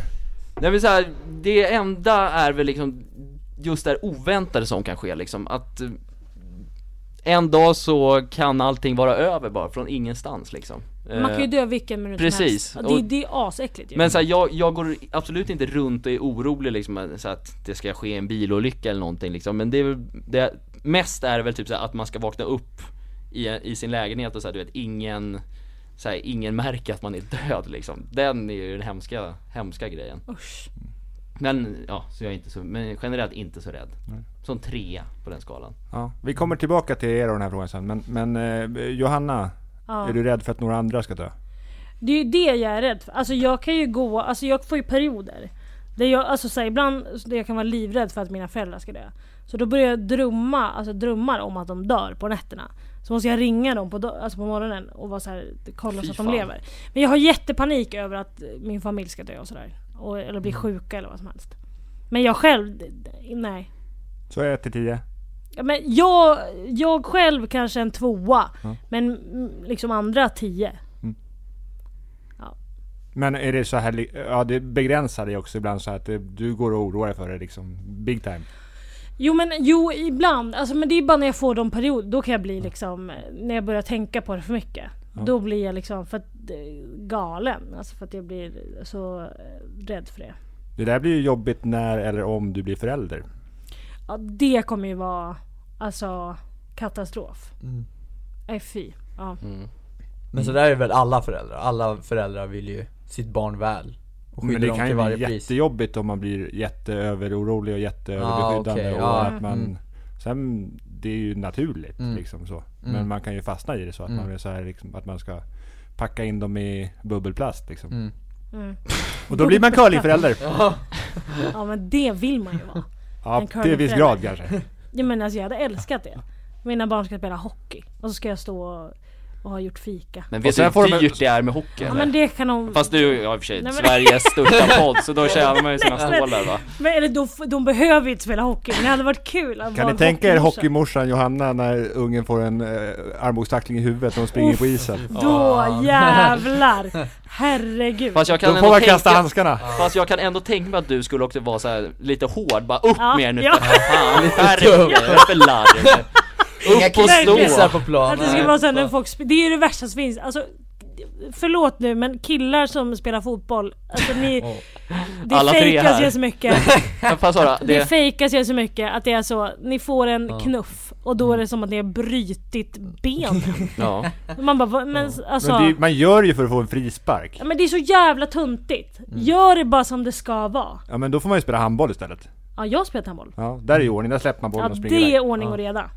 Nej men så här, det enda är väl liksom just det här oväntade som kan ske liksom, att eh, en dag så kan allting vara över bara, från ingenstans liksom. Man kan ju Eh, dö vilken minut som precis. helst. Och det, Och- det är asäckligt ju. Men så här, jag, jag går absolut inte runt och är orolig liksom, så att det ska ske en bilolycka eller någonting liksom. Men det, är väl- det mest är väl typ så här, att man ska vakna upp i, i sin lägenhet och så här, du vet, ingen, så här, ingen märker att man är död liksom. Den är ju den hemska, hemska grejen. Usch. Men ja, så jag är inte så, men generellt inte så rädd. Som trea på den skalan. Ja, vi kommer tillbaka till er och den här frågan sen. Men, men eh, Johanna, Ja. är du rädd för att några andra ska dö? Det är ju det jag är rädd för. Alltså jag kan ju gå, alltså jag får ju perioder. Där jag, alltså så här, ibland så jag kan vara livrädd för att mina föräldrar ska dö. Så då börjar jag drömma, alltså drömmar om att de dör på nätterna. Så måste jag ringa dem på, do- alltså på morgonen och vara så här, kolla Fy så att de fan. lever. Men jag har jättepanik över att eh, min familj ska dö och sådär. Och- Eller Mm. bli sjuka eller vad som helst. Men jag själv, d- d- nej. Så 1 till 10? Ja, men jag, jag själv kanske en tvåa. Men mm, liksom andra tio. Men är det så här, li- ja det begränsar dig också ibland så att eh, du går och oroar dig för det liksom, big time. Jo men jo, ibland. Alltså, men det är bara när jag får de perioder. Då kan jag bli liksom, när jag börjar tänka på det för mycket. Då blir jag liksom för att, eh, galen. Alltså för att jag blir så eh, rädd för det. Det där blir ju jobbigt när eller om du blir förälder. Ja, det kommer ju vara alltså katastrof. Nej fy. Ja. Men så där är väl alla föräldrar, alla föräldrar vill ju sitt barn väl och Men skyddar det dem kan till ju varje bli pris jättejobbigt om man blir jätteöverorolig och jätteöverbeskyddande. Ah, okej, och ja. att man, Mm. Sen, det är ju naturligt liksom så. Mm. Men man kan ju fastna i det så att man är så här, liksom, att man ska packa in dem i bubbelplast liksom. Mm. Mm. Och då blir man curlingförälder! ja men det vill man ju vara. Ja, En till en viss curlingförälder. grad kanske. Jag menar alltså jag hade älskat det. Mina barn ska spela hockey. Och så ska jag stå och, och ha gjort fika. Men Och vet sen du får de hur en- dyrt det är med hockey? Ja eller? men det kan de... Fast du, ja i och för sig, Nej, men- Sveriges största podd, så då tjänar man ju sina stålar va? Men, eller de, f- de behöver ju inte spela hockey, men det hade varit kul att Kan vara ni en tänka er hockeymorsa. hockeymorsan Johanna när ungen får en eh, armbågstackling i huvudet när hon springer in på isen? Då jävlar! Herregud. Fast jag kan Då ändå får man tänka- kasta handskarna! Fast jag kan ändå tänka mig att du skulle också vara så här lite hård, bara upp Ja, med er nu ja. för fan, skärp er, för larv Upp och knäckisar stå! Verkligen. Kissar på planen Att det skulle vara såhär när folk sp- Det är ju det värsta som finns. Alltså, förlåt nu men killar som spelar fotboll, alltså ni... Det Alla tre fejkas här. ju så mycket. Men fan Sara, Det det, fejkas ju så mycket att det är så, ni får en knuff och då är det som att ni har brytit benen. ja. Man bara, "Va? men alltså... Men det, är- man gör ju för att få en frispark. Ja, men det är så jävla tuntigt. Gör det bara som det ska vara. Ja men då får man ju spela handboll istället. Ja, jag spelar handboll. Ja, där är ju ordning, där släpper man Ja, bollen och springer det iväg. är ordning och reda.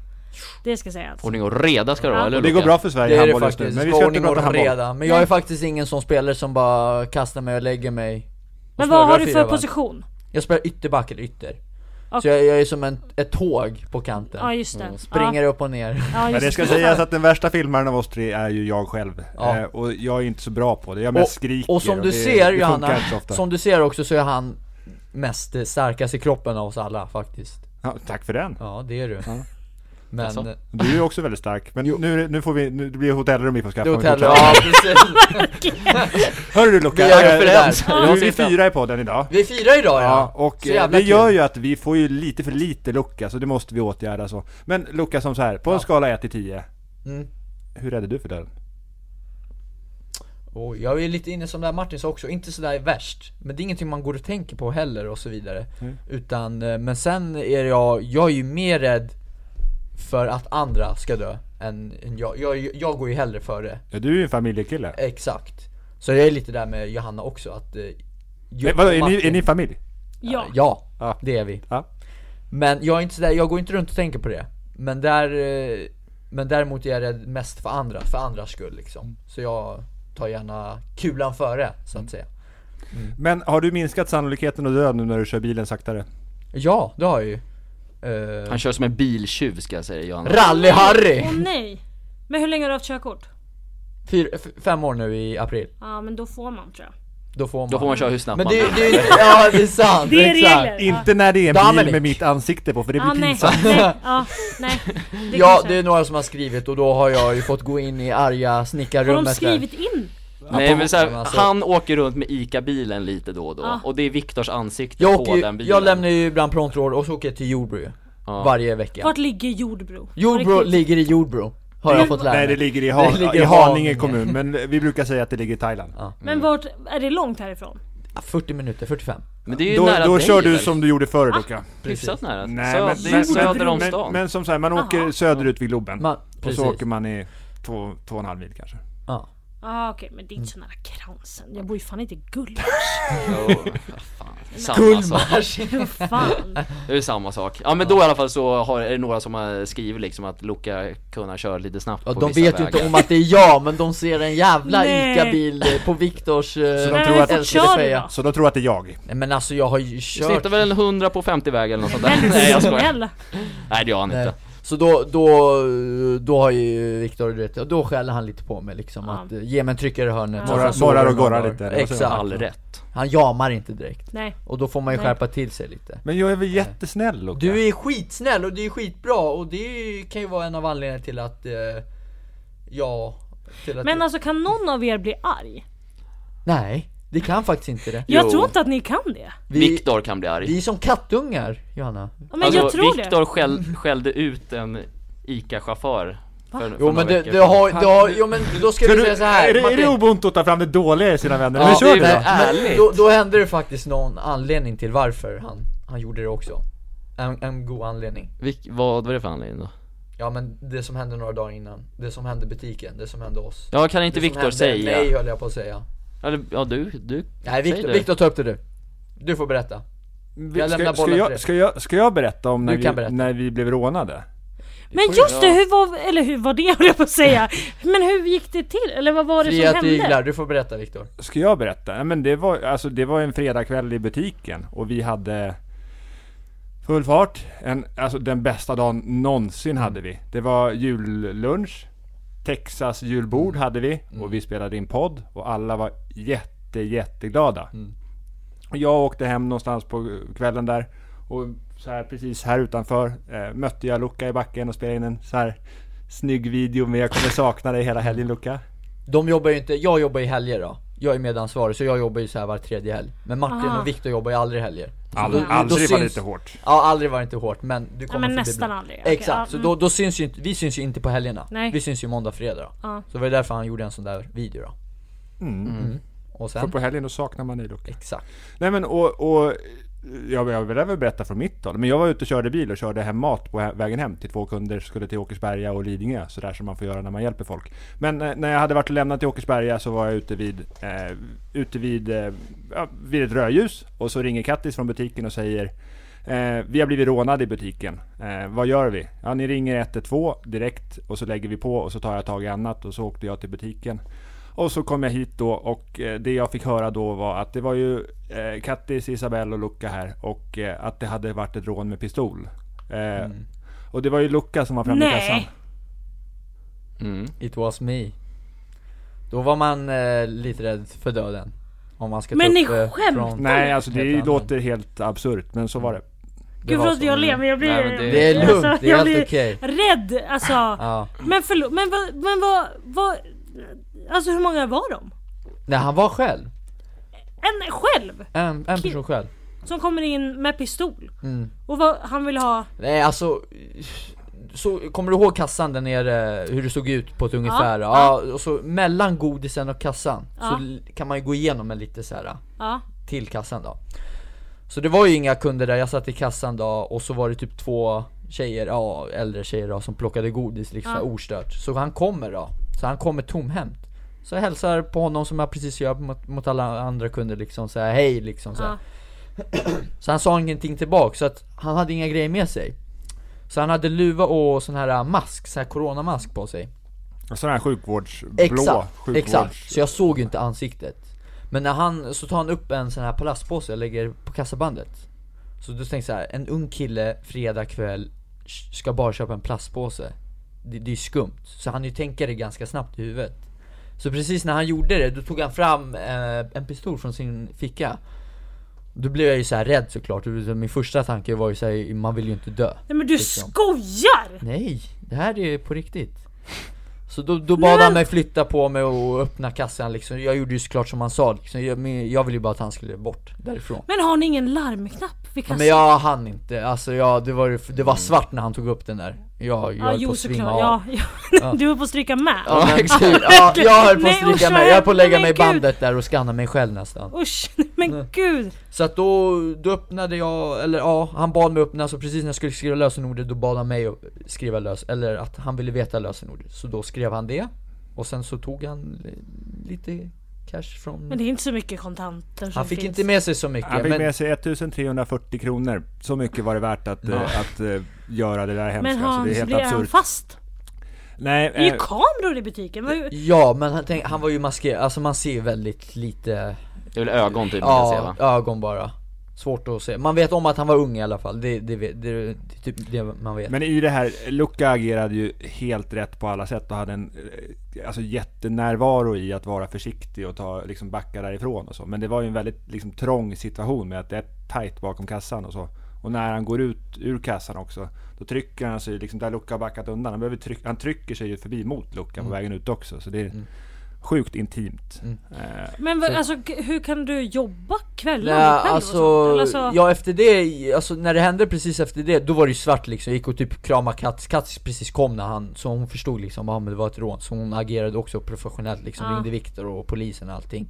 Det ska sägas. Ordning och reda ska det vara, Ja. eller Och det går Luca? bra för Sverige Det i är det handboll just nu, faktiskt, men vi vi ska ska inte ordning prata och handboll. reda Men jag är faktiskt ingen sån spelare som bara kastar mig och lägger mig och Men vad snurrar har du fyra för varv. position? Jag spelar ytterback eller ytter Och- Så jag, jag är som en, ett tåg på kanten. Ja, just det. Springer upp och ner. Ja, Men just det ska sägas att den värsta filmaren av oss tre är ju jag själv. Ja. Eh, och jag är inte så bra på det. Jag mest skriker. Och, och som du det, ser det Johanna, funkar inte så ofta. som du ser också så är han mest eh, starkast i kroppen av oss alla faktiskt. Ja, tack för den. Ja, det är du. Men... Alltså. eh, Du är ju också väldigt stark. Men nu, nu får vi, nu, det blir hotellrum vi får skaffa. Det är om vi hotell, fortsätter. ja precis. Hörru du Luca, Vi är eh, överens. du, Jag vi är sitter. fyra i podden idag. Vi firar idag Ja, ja. och Så eh, jävla det gör kul. ju att vi får ju lite för lite Luca, så det måste vi åtgärda så. Men Luca, som så här, på en skala 1 till 10. Mm. Hur rädd är du för döden? Och jag är lite inne som där Martin sa också, inte sådär värst. Men det är ingenting man går och tänker på heller och så vidare. Utan, eh, men sen är jag, jag är ju mer rädd för att andra ska dö än, än jag. jag. Jag går ju hellre före. Ja, du är ju en familjekille. Exakt. Så jag är lite där med Johanna också att... eh, Jo- Men vadå, är, Martin- ni, är ni familj? Ja. Ja, Ja. det är vi. Ja. Men jag är inte sådär, jag går inte runt och tänker på det. Men där, eh, men däremot är jag rädd mest för andra, för andras skull liksom. Så jag tar gärna kulan före, så Mm. att säga. Men har du minskat sannolikheten att dö nu när du kör bilen saktare? Ja, det har jag ju. Eh, Han kör som en biltjuv ska jag säga Johan Rally-Harry! Åh nej! Men hur länge har du haft körkort? Fyra- f- Fem år nu i april. Ja men då får man tror jag. Då får man. Då får man köra hur snabbt Men man det, vill det, ja, det är sant. Det är exakt. regler. Ja. Inte när det är en bil Dominic. med mitt ansikte på, för det blir Ah, nej, pinsamt. nej, ja, nej. Det Ja, kanske- det är några som har skrivit och då har jag ju fått gå in i arga Har snickarrummet de skrivit in? Nej men så här, Men alltså- han åker runt med ICA-bilen lite då och då Ja. Och det är Viktors ansikte Jag, på åker den ju, bilen jag lämnar ju ibland Prontråd och så åker jag till Jordbro ju. Varje vecka. Vart ligger Jordbro? Jordbro Riktigt. ligger i Jordbro, har jag fått lära Nej, mig. det ligger i, Han- Det ligger i i Haninge Haninge. kommun, men vi brukar säga att det ligger i Thailand. Men vart, är det långt härifrån? Ja, 40 minuter, 45. Men det är ju Då, nära då dig kör du väl? som du gjorde förr Luca. Hyfsat nära, Nej, Sö- men, det är men, söder men, om men, stan men som sagt, man åker söderut vid Globen. Man, och precis. så åker man i två, två och en halv mil kanske. Ja. Ah, okej, men det är inte så nära Kransen. Jag bor ju fan inte i Gullmars. Alltså, Samma alltså. sak, Gullmars! Fan. det är samma sak Ja men då i alla fall så har, är det några som har skrivit liksom att Luca kunna köra lite snabbt Ja, på de vissa vet ju vägar. inte om att det är jag, men de ser en jävla Nej. ICA-bil eh, på Viktors... eh, Så de Men tror hur att fort älskade kör du Freja. då? Så då tror jag att det är jag. Nej men alltså jag har ju kört... Snittar väl en 100 på 50 väg eller något sånt där Men Nej jag skojar snälla. Nej det gör han Nej. inte Så då, då, då har ju Viktor, du vet, och då skäller han lite på mig liksom Ja. att eh, ge mig en tryckare i hörnet Morrar- Och sen så- morrar och gorrar lite, det var så. Exakt, All rätt han jamar inte direkt Nej. Och då får man ju Nej. skärpa till sig lite Men jag är väl jättesnäll Luca? Du är skitsnäll och det är skitbra och det är ju- kan ju vara en av anledningarna till att, eh, ja, till att Men alltså kan någon av er bli arg? Nej, det kan faktiskt inte det Jag Jo. tror inte att ni kan det. Vi, Viktor kan bli arg vi är som kattungar, Johanna Ja, Alltså, Men jag tror det. Viktor skäll, skällde ut en ICA-chaufför för, för Jo några men det, veckor det sedan. har, det har, jo men då ska Ska vi du, säga så här, är, det, är Martin. det ubuntu att ta fram det dåliga i sina vänner? Ja, Eller kör det du är då? väl- Ärligt. Men då, då hände det faktiskt någon anledning till varför han, han gjorde det också. En, en god anledning. Vilk, vad var det för anledning då? Ja men det som hände några dagar innan, det som hände butiken, det som hände oss. Ja kan inte Det som Viktor hände säga? Mig höll jag på att säga. Eller, ja du, du Nej säg Viktor, det. Viktor ta upp det du. Du får berätta. Ska, Jag lämnar ska, bollen till jag, dig. ska, jag, ska jag berätta om när Du vi, kan berätta. när vi blev rånade? Men just det, hur var, eller hur var det höll jag på att säga. Men hur gick det till? Eller vad var det som Fria hände? tyglar, du får berätta Viktor. Ska jag berätta? Nej, men det var, alltså, det var en fredagkväll i butiken och vi hade full fart. En, alltså den bästa dagen någonsin hade vi. Det var jullunch, Texas julbord hade vi och vi spelade in podd och alla var jätte, jätteglada. Och Jag åkte hem någonstans på kvällen där och så här precis här utanför eh, mötte jag Luca i backen och spelade in en så här snygg video med Jag kommer sakna dig hela helgen Luca. De jobbar ju inte, jag jobbar i helger då. Jag är medansvarig så jag jobbar ju så här var tredje helg. Men Martin Aha. och Viktor jobbar ju aldrig helger. Så All, då- då aldrig var syns- lite hårt. Ja, aldrig var det inte hårt men du kommer men förbi nästan ibland. aldrig, okej, Exakt, ja, så mm. då, då syns ju inte, vi syns ju inte på helgerna. Nej. Vi syns ju måndag, fredag då. Ja. Så det var därför han gjorde en sån där video då. Mm. Och För sen, på helgen då saknar man dig Luca. exakt. Nej men och, och jag, jag vill även berätta från mitt håll. Men jag var ute och körde bil och körde hem mat på hä- vägen hem till två kunder. Skulle till Åkersberga och Lidingö. Sådär som man får göra när man hjälper folk. Men eh, när jag hade varit och lämnat till Åkersberga så var jag ute vid, eh, ute vid, eh, ja, vid ett rödljus. Och så ringer Kattis från butiken och säger Eh, vi har blivit rånade i butiken. Eh, vad gör vi? Ja, ni ringer 112 direkt och så lägger vi på och så tar jag tag i annat och så åkte jag till butiken. Och så kom jag hit då och eh, det jag fick höra då var att det var ju eh, Kattis, Isabelle och Luca här och eh, att det hade varit ett rån med pistol. Eh, Och det var ju Luca som var framme i Nej. kassan. Mm. It was me. Då var man eh, lite rädd för döden. Om man ska Men ta ni upp, eh, skämtar? från- Nej, alltså Helt det annan. låter helt Mm. absurt, men så var det. Gud var förlåt så. jag ler men jag blir... alltså, Nej, men det- Det är lugnt, det är jag helt blir okej. Rädd alltså. Ja. Men förlåt, men vad, men vad, vad... Alltså hur många var de? Nej, han var själv. En själv? En, en person själv. Som kommer in med pistol. Mm. Och vad han vill ha... Nej alltså, så, kommer du ihåg kassan där nere, hur det såg ut på ett ungefär? Ja, och så mellan godisen och kassan så Ja. l- kan man ju gå igenom en lite så här Ja. till kassan då Så det var ju inga kunder där, jag satt i kassan då och så var det typ två tjejer, ja äldre tjejer då, som plockade godis liksom Ja. så här ostört Så han kommer då, så han kommer tomhänt Så jag hälsar på honom som jag precis gör mot, mot alla andra kunder liksom, så här, hej liksom så här. ja. Så han sa ingenting tillbaka, så att han hade inga grejer med sig Så han hade luva och sån här mask, sån här coronamask på sig En sån här sjukvårdsblå Exakt, sjukvårds... exakt, så jag såg ju inte ansiktet Men när han, så tar han upp en sån här palastpåse och lägger på kassabandet Så du tänker jag så här, en ung kille fredag kväll sh- ska bara köpa en plastpåse Det, det är skumt, så han ju tänker det ganska snabbt i huvudet Så precis när han gjorde det, då tog han fram eh, en pistol från sin ficka Då blev jag ju så här rädd såklart, min första tanke var ju såhär, man vill ju inte dö Nej men du Liksom. skojar! Nej, det här är på riktigt Så då, då bad han mig flytta på mig och öppna kassan liksom Jag gjorde ju såklart som han sa liksom. jag, men jag ville ju bara att han skulle bort därifrån Men har ni ingen larmknapp vid kassan? Men jag hann inte, alltså jag, det, var, ju- det var svart när han tog upp den där Jag, jag Ja, höll på jo att svimma såklart. av Ja, ja. Du höll på att stryka med. Ja, exakt. ja, jag höll på att Nej, stryka usch, mig, jag höll på att lägga men mig i gud. bandet där och skanna mig själv nästan Usch, nej, men gud. Så att då, då öppnade jag, eller ja, han bad mig öppna, så precis när jag skulle skriva lösenordet då bad han mig att skriva lös, eller att han ville veta lösenordet. Så då skrev han det, och sen så tog han li- lite cash från... Men det är inte så mycket kontanter som han fick finns. inte med sig så mycket, Han fick men med sig 1340 kronor. Så mycket var det värt att, eh, att eh, göra det där hemska. Men så Hans, det är det helt är han absurt. fast? Nej, Det är eh, ju kameror i butiken. Vad- Ja, men han, tänk, han var ju maskerad, alltså man ser ju väldigt lite, Det är väl ögon typ man kan se ja, va? ögon bara. Svårt att se. Man vet om att han var ung i alla fall, det, det, vet- det, det är typ det man vet. men i det här, Luca agerade ju helt rätt på alla sätt och hade en eh, alltså, jättenärvaro i att vara försiktig och ta, liksom, backa därifrån och så. Men det var ju en väldigt liksom, trång situation med att det är tajt bakom kassan och så. Och när han går ut ur kassan också, då trycker han sig liksom där Luca har backat undan. Han, behöver tryck, han trycker sig ju förbi mot Luca på vägen ut också. Så det är sjukt intimt. Eh, Men vad, alltså, g- hur kan du jobba kvällar Nej, själv alltså, och sånt? Eller så- ja efter det, alltså när det hände precis efter det, då var det ju svart liksom, jag gick och typ kramade Kattis, Kattis precis kom när han, så hon förstod liksom, ja men det var ett rån, så hon agerade också professionellt liksom, Ja. ringde Viktor och polisen och allting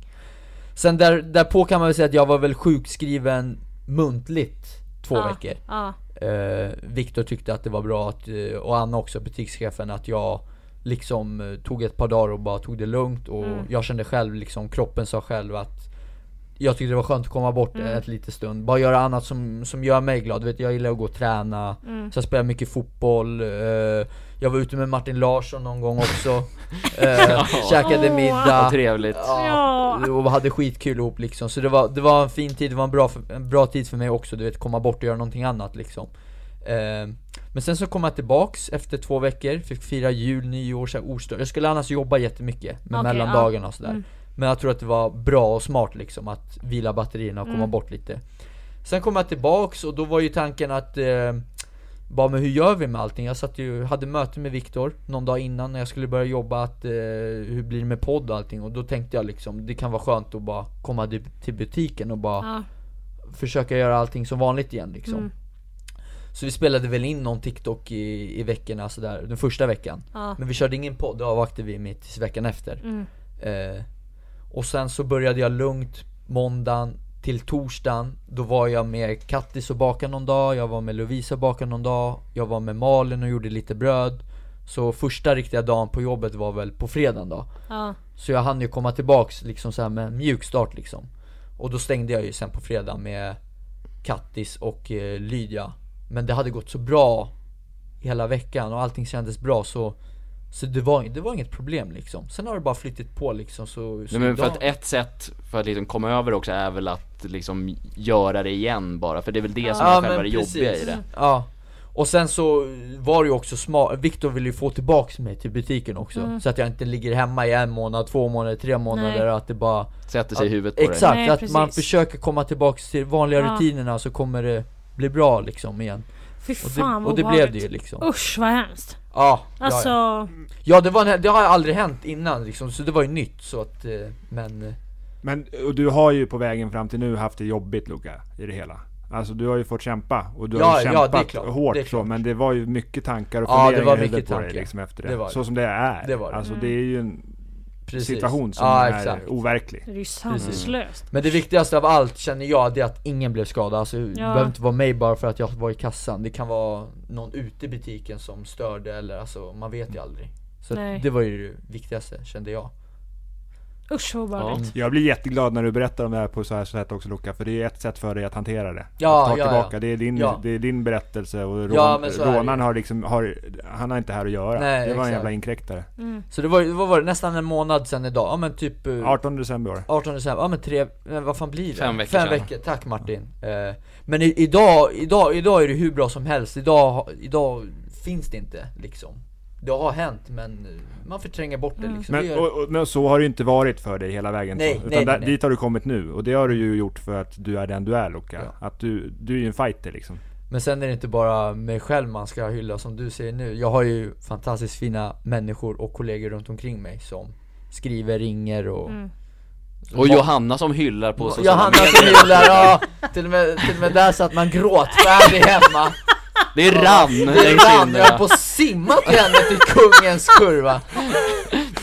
Sen där, därpå kan man väl säga att jag var väl sjukskriven muntligt två ja, veckor Ja. eh, Viktor tyckte att det var bra att, eh, och Anna också, butikschefen, att jag liksom eh, tog ett par dagar och bara tog det lugnt och jag kände själv liksom, kroppen sa själv att jag tyckte det var skönt att komma bort ett litet stund, bara göra annat som, som gör mig glad. Du vet, jag gillar att gå och träna, så jag spelar mycket fotboll, eh, jag var ute med Martin Larsson någon gång också, eh, käkade Åh. middag. Vad trevligt. Ja, Ja. och hade skitkul ihop liksom. Så det var, det var en fin tid, det var en bra, för, en bra tid för mig också, du vet, komma bort och göra någonting annat liksom. Ehm, men sen så kom jag tillbaks efter två veckor, fick fira jul, nyår, så här, ostört. Jag skulle annars jobba jättemycket med Okej, mellan ja. Mm. dagarna och sådär. Men jag tror att det var bra och smart liksom att vila batterierna och komma Mm. bort lite. Sen kom jag tillbaks och då var ju tanken att eh, bara men hur gör vi med allting? Jag satt ju, hade möte med Viktor någon dag innan när jag skulle börja jobba att eh, hur blir det med podd och allting? Och då tänkte jag liksom det kan vara skönt att bara komma di- till butiken och bara Ja. försöka göra allting som vanligt igen liksom. Så vi spelade väl in någon TikTok i, i veckorna sådär, den första veckan. Ja. Men vi körde ingen podd, då avvaktade vi mitt tills veckan efter. Eh, och sen så började jag lugnt måndagen till torsdagen. Då var jag med Kattis och bakade någon dag, jag var med Lovisa och bakade någon dag, jag var med Malin och gjorde lite bröd. Så första riktiga dagen på jobbet var väl på fredagen då. ja. Så jag hann ju komma tillbaks liksom så här med en mjuk start liksom. Och då stängde jag ju sen på fredag med Kattis och eh, Lydia. Men det hade gått så bra hela veckan och allting kändes bra så Så det var, det var inget problem liksom. Sen har det bara flyttit på liksom så... så Nej, men för idag- att ett sätt för att liksom komma över också är väl att liksom göra det igen bara, för det är väl det som är själva det jobbiga i det. Ja. Och sen så var det ju också smart, Viktor ville ju få tillbaks mig till butiken också Så att jag inte ligger hemma i en månad, två månader, tre månader Nej. och att det bara Sätter sig i att- huvudet på dig. Exakt, Nej, att man precis. försöker komma tillbaks till vanliga Ja. rutinerna så kommer det bli bra liksom igen Fy Och fan det, vad och det blev obehagligt. det ju liksom Usch vad hemskt. Ja, Alltså, ja, ja. ja det, var, en- det har aldrig hänt innan liksom, så det var ju nytt så att, eh, men eh, Men och du har ju på vägen fram till nu haft det jobbigt Luca, i det hela. Alltså du har ju fått kämpa och du har Ja, ju ja, kämpat det är klart, hårt det är så klart. men det var ju mycket tankar och Ja, det funderingar var i huvudet mycket på dig tankar. liksom efter det. Det var det. Så som det är. Det var det. Alltså det är ju en precis situation som ja, är exakt. overklig. det är ju sanslöst. Men det viktigaste av allt känner jag, det är att ingen blev skadad. Alltså, det behöver inte vara mig bara för att jag var i kassan. Det kan vara någon ute i butiken som störde eller alltså, man Mm. vet ju aldrig. Så att Nej. det var ju det viktigaste, kände jag. Usch vad obehagligt. Jag blir jätteglad när du berättar om det här på så här sätt också Luca, för det är ett sätt för dig att hantera det. Ja, att ta ja, tillbaka, ja. det, är din, Ja. det är din berättelse och rån, Ja, men så är det rånaren ju. har liksom, har, han har inte här att göra. Nej, det var en exakt. Mm. jävla inkräktare. Så det var, ju- vad var det, nästan en månad sedan idag. Ja men typ eh, 18 december i år. 18 december, ja men tre, men vad fan blir det? Fem veckor Fem sedan. veckor, tack Martin. Eh, men i, idag, idag, idag är det hur bra som helst. Idag, ha- idag finns det inte liksom. Det har hänt men eh, man förtränger bort det liksom. Det Men, gör- och, och, men så har det inte varit för dig hela vägen. Nej, så. Utan nej, nej, där, nej. dit har du kommit nu. Och det har du ju gjort för att du är den du är Luca. Ja. Att du, du är ju en fighter liksom. Men sen är det inte bara mig själv man ska hylla som du säger nu. Jag har ju fantastiskt fina människor och kollegor runt omkring mig som skriver, ringer och... Och Johanna som hyllar på och sociala Johanna medier. som hyllar, ja! Till och, med, till och med där satt man gråtfärdig hemma. Det rann längs Ibland, jag höll på kinderna. att simma till henne till kungens kurva. Har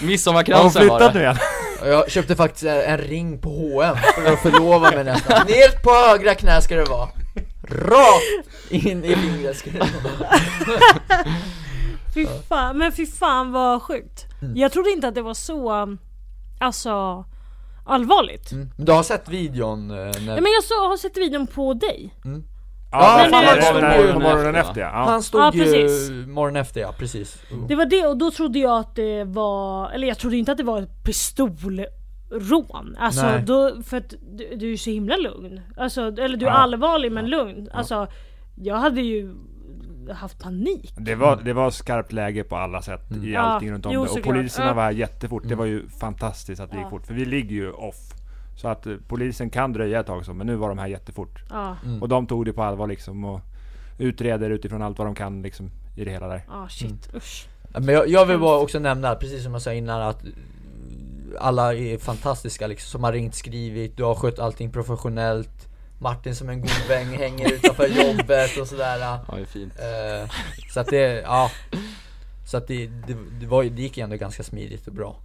hon Midsommarkransen var flyttat det. nu igen? Och jag köpte faktiskt en en ring på H&M för att förlova mig nästan. Ner på högra knä ska det vara. Rakt in i fingret ska det vara. Mm. Fy fan, men fy fan vad sjukt. Mm. Jag trodde inte att det var så, um, alltså allvarligt. Mm. Men Du har sett videon eh, när Nej, men jag så, har sett videon på dig. Ja, Ja, men där- nu- där- där- på morgonen efter, efter ja. Ja. ja. Han stod Ja, precis. ju morgonen efter ja, precis. Det var det och då trodde jag att det var, eller jag trodde inte att det var ett pistolrån. Alltså Nej. då, för att du, du är ju så himla lugn. Alltså, eller du är Ja. allvarlig men lugn. Alltså jag hade ju haft panik. Det var, det var skarpt läge på alla sätt Mm. i Ja, allting runt om jo, det. Och såklart. poliserna Ja. var här jättefort. Det var ju fantastiskt att det gick fort. För vi ligger ju off. Så att eh, polisen kan dröja ett tag så, men nu var de här jättefort. Ja, Och de tog det på allvar liksom och utreder utifrån allt vad de kan liksom i det hela där. ah, shit usch. Men jag, jag vill bara också nämna, precis som jag sa innan att alla är fantastiska liksom, som har ringt, skrivit, du har skött allting professionellt Martin som en god vän hänger utanför jobbet och sådär Ja, det är fint. Eh, Så att det, ja Så att det, det, det, var, ju- det gick ändå ganska smidigt och bra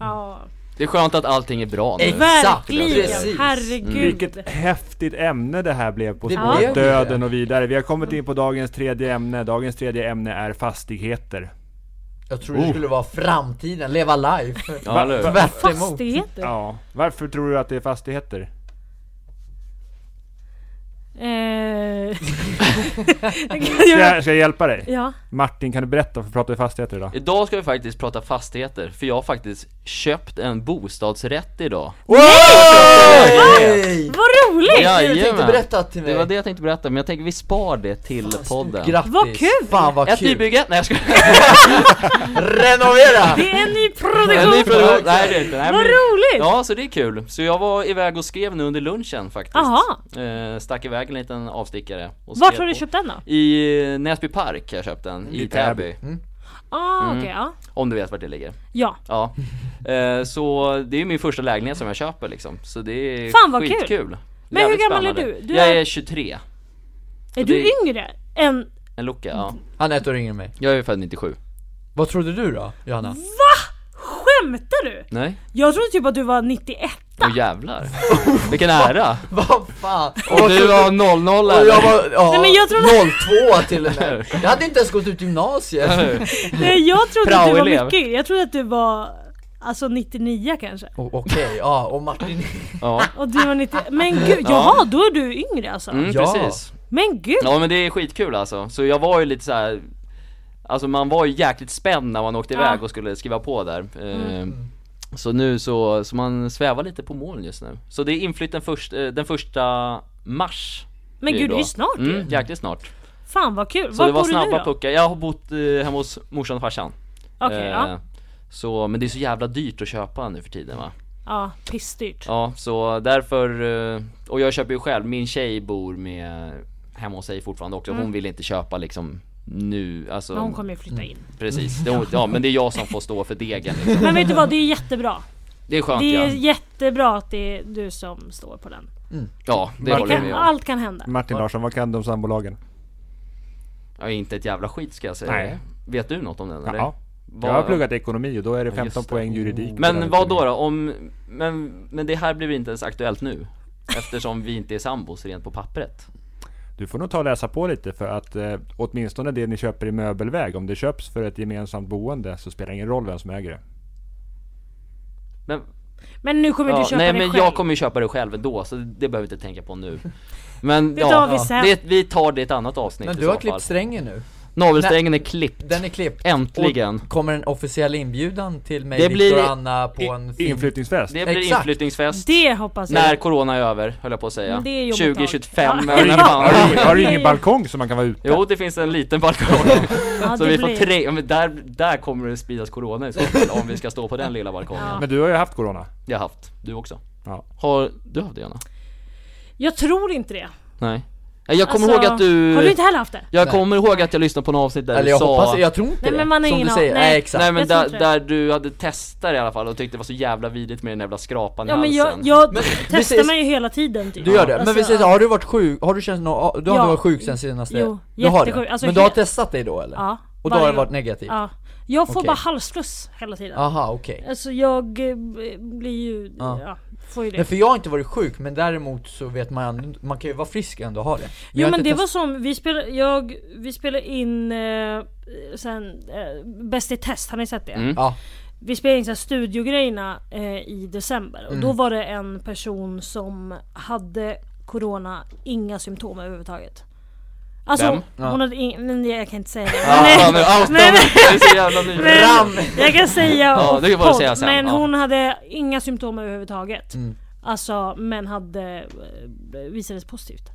Ja. Det är skönt att allting är bra nu. Exakt. Verkligen, Precis. herregud. Vilket häftigt ämne det här blev på Det spåret. blev det. döden och vidare. Vi har kommit in på dagens tredje ämne. Dagens tredje ämne är fastigheter. Jag tror det skulle vara framtiden, leva life Ja, eller hur? Tvärt emot. Fastigheter? Ja. Varför tror du att det är fastigheter? Eh, Ska jag, ska jag hjälpa dig? ja. Martin, kan du berätta? För vi pratar ju fastigheter idag. Idag ska vi faktiskt prata fastigheter, för jag har faktiskt köpt en bostadsrätt idag. Hej! Vad roligt! Ja, Du tänkte Jajamän. berätta till mig Det var det jag tänkte berätta, men jag tänker vi spar det till podden. Grattis! Vad kul! Fan vad Ett kul! nybygge? Nej jag typ- skojar! Renovera! Det är en ny En ny produktion! produktion. Nej det är inte. Nej, Vad men- roligt! Ja, så det är kul. Så jag var iväg och skrev nu under lunchen faktiskt. Aha. Eh, stack iväg en liten avstickare. och Vart skrev har du på- köpt den då? I eh, Näsby park har jag köpt den, i I Täby. Täby. Ah, okej, ja. Om du vet vart det ligger. ja. Ja. Eh, så det är min första lägenhet som jag köper liksom. Så det är Fan, vad kul. skitkul. Kul. Men hur gammal är du? Du jag är- är 23. Är du det- yngre än... En lucka, ja. Mm. Han är ett år yngre än mig Jag är född 97. Vad trodde du då, Johanna? Mm. Skämtar du? Nej? Jag trodde typ att du var 91. Åh jävlar. Vilken ära. Vad fan? Och du var 00 och jag eller? var, ja, Nej, men jag trodde- 02 till och med Jag hade inte ens gått ut gymnasiet Nej, jag trodde att du var Praoelev. mycket yngre. Jag trodde att du var... Alltså 99 kanske. O- Okej, ja, och Martin Ja, Och du var 90... Men gud, jaha då är du yngre alltså? mm, Ja. precis. Men gud! Ja men det är skitkul alltså. Så jag var ju lite så här. Alltså man var ju jäkligt spänd när man åkte Ja. Mm. iväg och skulle skriva på där. Eh, Så nu så, så man svävar lite på moln just nu. Så det är inflytt den, först, eh, den första mars. Men ju gud, det är då. ju snart ju. mm, jäkligt snart. Fan vad kul. Så Var det var bor du nu snabba då? puckar. Jag har bott eh, hemma hos morsan och farsan. Okej, Eh, ja. Så, men det är så jävla dyrt att köpa nu för tiden va? Ja, pissdyrt. Ja, så därför, eh, och jag köper ju själv, min tjej bor med, hemma hos sig fortfarande också, hon vill inte köpa liksom nu, alltså Men Mm. hon kommer ju flytta in. Precis, det, ja men det är jag som får stå för degen liksom. Men vet du vad, det är jättebra. Det är skönt Det är ja. jättebra att det är du som står på den. Ja, Mm. det Det håller jag kan, med om. allt kan hända. Martin Larsson, vad kan du om sambolagen? Ja, inte ett jävla skit ska jag säga. Nej. Vet du något om den eller? Ja. Vad- Jag har pluggat ekonomi och då är det Ja, 15 just det. poäng juridik. Men vad då, då? Om, men, men det här blir inte ens aktuellt nu? Eftersom vi inte är sambos rent på pappret. Du får nog ta och läsa på lite för att eh, åtminstone det ni köper i möbelväg, om det köps för ett gemensamt boende så spelar det ingen roll vem som äger det. Men, Men nu kommer du ja, köpa nej det men själv. jag kommer ju köpa det själv ändå, så det behöver vi inte tänka på nu. Men Det ja, tar vi sen. Det, vi tar det i ett annat avsnitt Men i du så har klippt fall. strängen nu. Navelsträngen är klippt. Den är klippt. Äntligen. Och kommer en officiell inbjudan till mig, Det Viktor blir- och Anna på en I, inflyttningsfest? Det blir Exakt. Mm. inflyttningsfest. Det hoppas jag. När corona är över, höll jag på att säga. Det är jobbigt tag. 2025, Ja. men när Har fan. du, har du ingen balkong som man kan vara ute? Jo, det finns en liten balkong. ja, så det vi får blir- tre, ja, men där, där kommer det spridas corona i så fall, om vi ska stå på den lilla balkongen. Ja. Men du har ju haft corona. Jag har haft, du också. Ja. Har du haft det Anna? Jag tror inte det. Nej. Nej, Jag kommer Alltså, ihåg att du... Har du inte heller haft det? Jag Nej. kommer ihåg att jag lyssnade på något avsnitt där Eller du jag sa... hoppas, jag tror inte Nej, det. men man har som ingen du aning. säger, Nej. nej exakt. Nej men Jag tror där, inte det. där du hade testat det i alla fall och tyckte det var så jävla vidrigt med den jävla skrapan i Ja men jag, halsen. jag testar precis. mig ju hela tiden typ. Du gör det, Alltså, men vi säger så, har du varit sjuk, har du känt någon, du har Ja. inte varit sjuk sen senaste? Jo, du har jättesjuk. det. Alltså, men du har helt- testat dig då eller? Ja, Och då har varje det varit gång. negativt? Ja. Jag får Okej. bara halsfluss hela tiden. Aha, okej. Alltså jag eh, blir ju, ja. Ja. får ju det. Nej för jag har inte varit sjuk, men däremot så vet man man kan ju vara frisk och ändå ha det. Men jag Jo har men inte det var testat- som, vi spelade, jag, vi spelade in eh, sen, eh, Bäst i test, har ni sett det? Mm. Ja, Vi spelade in så här studiogrejerna eh, i december och Mm. då var det en person som hade Corona, inga symptom överhuvudtaget. Alltså Vem? hon, hon hade in, men jag kan inte säga det. Ah, Men- fan, nu outar men- mig. Jag är så jävla ny. Men jag kan säga Ja, off det kan bara podd, säga sen, men ja. Mm. hon hade inga symptom överhuvudtaget. Alltså men hade eh, visades positivt.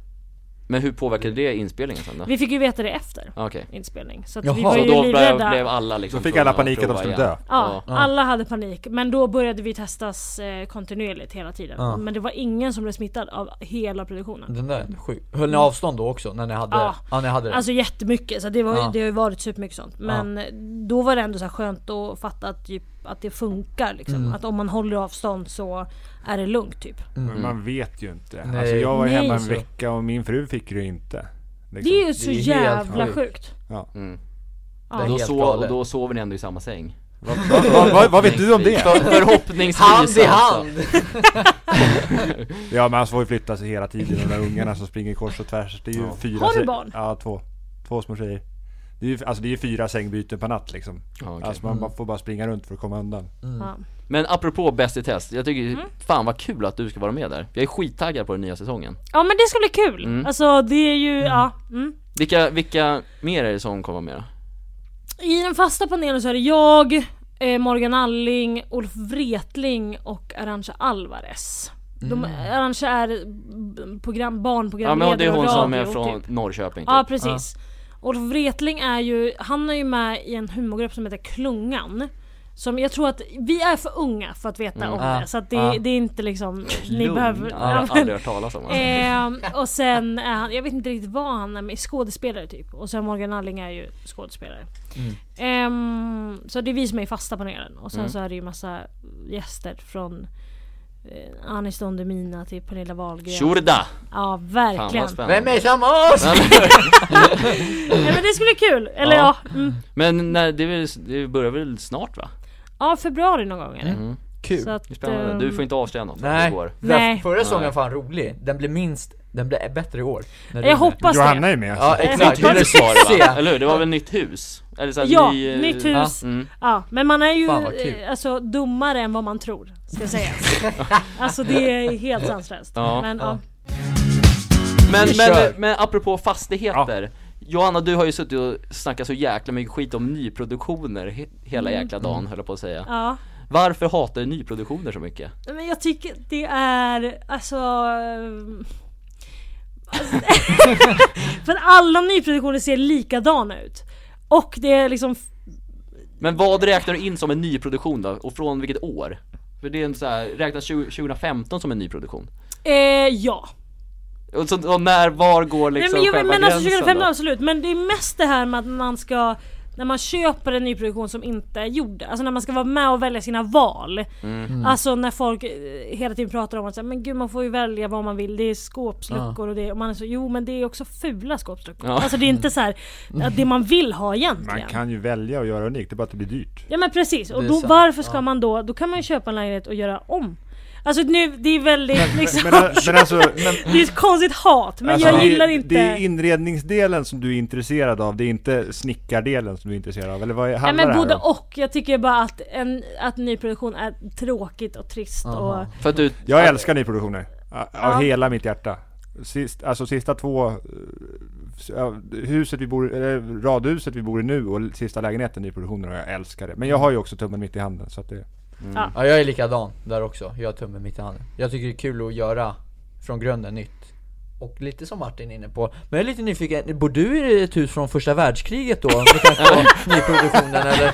Men hur påverkade det inspelningen sen då? Vi fick ju veta det efter Ah, Okej. inspelning. Så att Jaha. vi var Så ju då blev, livrädda. blev alla liksom Så fick tvungna alla panik att de prova skulle igen. dö. Ja, Ja. alla hade panik. Men då började vi testas eh, kontinuerligt hela tiden. Ja. Men det var ingen som blev smittad av hela produktionen. den där är sjuk. Höll ni avstånd då också när ni hade, Ja. ja, ni hade det? Alltså jättemycket, så det, var, Ja. det har ju varit supermycket sånt. Men då var det ändå så här skönt att fatta att, typ, att det funkar. Liksom. Att om man håller avstånd så är det lugnt typ. Men man vet ju inte. Nej. Alltså jag var ju Nej. hemma en vecka och min fru fick det ju inte. Liksom. Det är ju så helt jävla sjukt. sjukt. Ja. Mm. Ja. Det är Då, helt så, och galet. då sover ni ändå i samma säng. Vad, vad, vad, vad, vad vet du om det? För, förhoppningsvis Hand alltså. i hand! Ja men han får ju flytta sig hela tiden de där ungarna som springer kors och tvärs. Det är ju fyra Har du säng- barn? Ja, två. Två små tjejer. Det är ju, alltså det är ju fyra sängbyten per natt liksom. Ja, okej. Mm. Alltså man bara får bara springa runt för att komma undan. Ja. Men apropå Bäst i test, jag tycker Mm. fan vad kul att du ska vara med där. Jag är skittaggad på den nya säsongen. ja men det ska bli kul. Alltså det är ju, ja. Mm. Vilka, vilka mer är det som kommer med då? I den fasta panelen så är det jag, eh, Morgan Alling, Olof Wretling och Arantxa Alvarez. De, Arantxa är b- program, Mm. Ja barnprogramledare men det är hon och som är radio, från typ. Norrköping Ja typ. precis. Olof Wretling är ju, han är ju med i en humorgrupp som heter Klungan. Som jag tror att vi är för unga för att veta Mm. om Ja. det. Så att det, Ja. det är inte liksom, ni Lugn, behöver... jag har aldrig hört talas om henne. Ehm, och sen är han, jag vet inte riktigt vad han är med, skådespelare typ. Och sen Morgan Alling är ju skådespelare. Mm. Ehm, så det är vi som är i fasta panelen. Och sen så är det ju massa gäster från eh, Anis Don Demina till Pernilla Wahlgren. Shurda! Ja Fan verkligen. vad Nej, spännande. Vem är samma oss? men det skulle bli kul. Eller ja. Ja. Ja, mm. Men när, det, är väl- det börjar väl snart va? ja februari någon gång är det. Kul! Så att, Mm. Det är spännande. ehm, Du får inte avslöja något om det Nej, går. Nej. nej. förra säsongen var fan rolig, den blev minst, den blev bättre i år när du är jag med. hoppas Johanna det. är ju med. Ja exakt, Det är det det svaret va? se. Eller hur? Det var väl nytt hus? Eller så här, Ja, ny, eh, nytt hus. Ja. Mm. men man är ju Fan, vad kul. eh, alltså, dummare än vad man tror, ska sägas. alltså det är helt sanslöst. Ja. Men, ja. Men, Vi men, kör. men apropå fastigheter Johanna, du har ju suttit och snackat så jäkla mycket skit om nyproduktioner he- hela jäkla dagen höll jag på att säga. Mm. Ja. Varför hatar du nyproduktioner så mycket? Men jag tycker det är alltså... ehm, alltså- för att alla nyproduktioner ser likadana ut. Och det är liksom... Men vad räknar du in som en nyproduktion då? Och från vilket år? För det är en så här, räknas 20- 2015 som en nyproduktion? Eh, ja. Och, så, och när, var går liksom Nej, men, jag, själva men alltså gränsen 2015 då? absolut, men det är mest det här med att man ska när man köper en nyproduktion som inte är gjord, alltså när man ska vara med och välja sina val. Mm. Alltså när folk eh, hela tiden pratar om att så här, men gud man får ju välja vad man vill, det är skåpsluckor och det och man är så, jo men det är också fula skåpsluckor. Ja. Alltså det är inte så här att det man vill ha Mm. Man egentligen. kan ju välja att göra unikt, det är bara att det blir dyrt. Ja men precis, och Det är då, sant. varför ska man då, då kan man ju köpa en lägenhet och göra om. Alltså nu, det är väldigt liksom, Men, men alltså, det är ett konstigt hat men alltså, jag det är- gillar inte Det är inredningsdelen som du är intresserad av, det är inte snickardelen som du är intresserad av. Eller vad är- Nej handlar men det både här om? och. Jag tycker bara att, en, att nyproduktion är tråkigt och trist och... För att du, Jag älskar nyproduktioner. Av Ja. hela mitt hjärta. Sist, alltså sista två... eh, s- ja, Huset vi bor, eller radhuset vi bor i nu och sista lägenheten i produktionen och jag älskar det. Men jag har ju också tummen mitt i handen så att det... Ja jag är likadan där också, jag har tummen mitt i handen. Jag tycker det är kul att göra från grunden nytt. Och lite som Martin är inne på, men jag är lite nyfiken, bor du i ett hus från första världskriget då? Med tanke på nyproduktionen eller?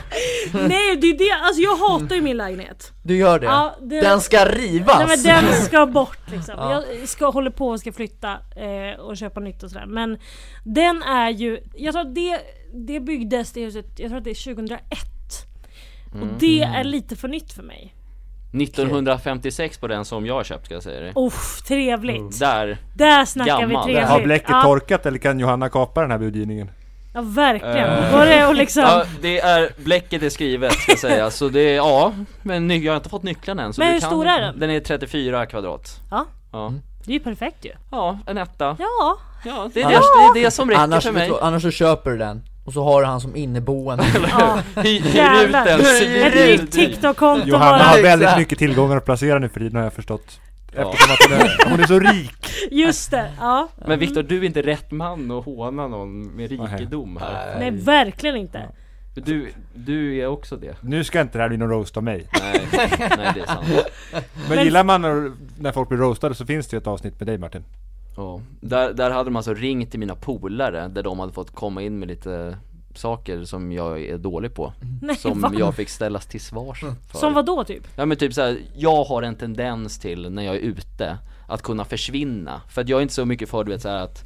Nej det är det, alltså jag hatar ju min lägenhet. Du gör det? Ja, det- Den ska Nej rivas! men den ska bort liksom. Alltså. Ja. Jag ska, håller på och ska flytta eh, och köpa nytt och sådär. Men den är ju, jag tror att det, det byggdes det huset, jag tror att det är 2001. Och det är lite för nytt för mig. 1956 på den som jag har köpt ska jag säga dig. Uff, trevligt. Där, Där snackar Gammal. vi trevligt. Har bläcket ja, torkat eller kan Johanna kapa den här budgivningen? ja verkligen. Var det och liksom... ja det är, bläcket är skrivet ska jag säga. Så det är, ja, men ny- jag har inte fått nycklarna än. Så Men du hur kan, stor är den? Den är 34 kvadrat. Ja. Ja, Det är ju perfekt ju. ja en etta. Ja. Ja, det är, Annars- det, det är det som räcker annars, för mig. vet du- annars så köper du den, och så har du han som inneboende. ja. Hy- Hyr ut Jävlar. den, Ett svin nytt ut den. TikTok-konto Johanna bara. har väldigt Exakt. mycket tillgångar att placera nu för tiden har jag förstått. Ja. Eftersom att hon är, hon är så rik. Just det, ja. Men Viktor, du är inte rätt man att håna någon med rikedom här. Nej verkligen inte. Du, du är också det. Nu ska inte det här bli någon roast av mig. Nej, nej det är sant. Men, gillar man när, när folk blir roastade så finns det ju ett avsnitt med dig Martin. Ja, där, där hade de alltså ringt till mina polare där de hade fått komma in med lite saker som jag är dålig på. Nej, som va? jag fick ställas till svars för. Mm. Som vad då typ? Ja men typ såhär, jag har en tendens till när jag är ute att kunna försvinna. För att jag är inte så mycket för du vet såhär att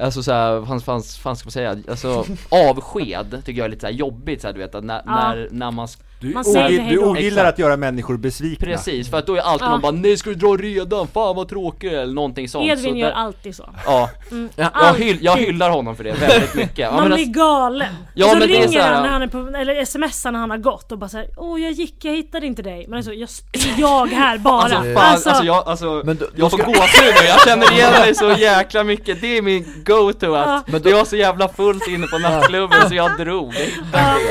Alltså såhär, vad fan, fan, fan ska man säga? Alltså avsked tycker jag är lite såhär jobbigt såhär du vet att när, när, när man sk- Du, Man säger ogil- hej du då. ogillar Exakt. att göra människor besvikna. Precis, för att då är alltid Ja. någon bara 'Nej ska du dra redan? Fan vad tråkigt' eller någonting sånt Edvin så gör där- alltid så. Ja, Ja, jag, hyll, jag hyllar honom för det väldigt mycket ja, Mm. Man men blir alltså- galen. Ja, och så men det är ringer så här- han när han är på, eller smsar när han har gått och bara såhär Åh jag gick, jag hittade inte dig. Men alltså, jag, det är jag här bara. Alltså, fan, alltså, jag, alltså, Men då- jag då får gåshud nu, jag känner igen mig så jäkla mycket Det är min go-to Ja. att, Men då- jag var så jävla fullt inne på nattklubben så jag drog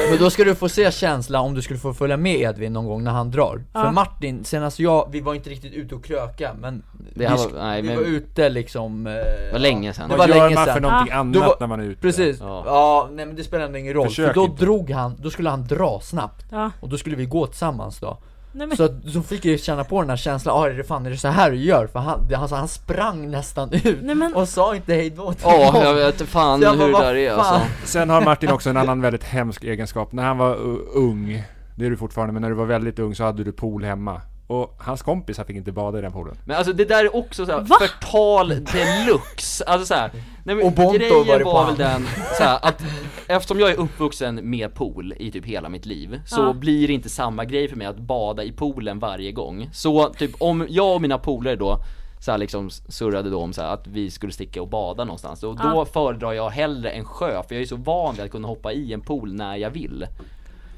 Men då ska du få se känsla om du skulle få följa med Edvin någon gång när han drar. För Martin, senast jag, vi var inte riktigt ute och kröka men Det här vi, var- sk- nej, vi men- var ute liksom... eh, var länge sedan. Det var Vad gör länge man för sedan. någonting annat Då var- när man är ute? Precis, Ja. ja. nej men det spelar ändå ingen roll, Försök för då inte. drog han, då skulle han dra snabbt Ja. Och då skulle vi gå tillsammans då Nej, men, Så att, så fick jag ju känna på den här känslan, ah, är det fan är det så här du gör? För han, det- alltså, han sprang nästan ut Nej, men- och sa inte hejdå till Ja, någon. jag vet fan Så jag bara, hur det vad där är fan? alltså Sen har Martin också en annan väldigt hemsk egenskap. När han var uh, ung, det är du fortfarande, men när du var väldigt ung så hade du pool hemma. Och hans kompisar fick inte bada i den poolen. Men alltså det där är också såhär, Va? förtal deluxe, alltså såhär nej, men Och Bonto grejen var det på var väl hand. den, såhär, att eftersom jag är uppvuxen med pool i typ hela mitt liv Så Ja. blir det inte samma grej för mig att bada i poolen varje gång Så typ om jag och mina polare då så här liksom surrade då om så här att vi skulle sticka och bada någonstans och då föredrar jag hellre en sjö för jag är så van vid att kunna hoppa i en pool när jag vill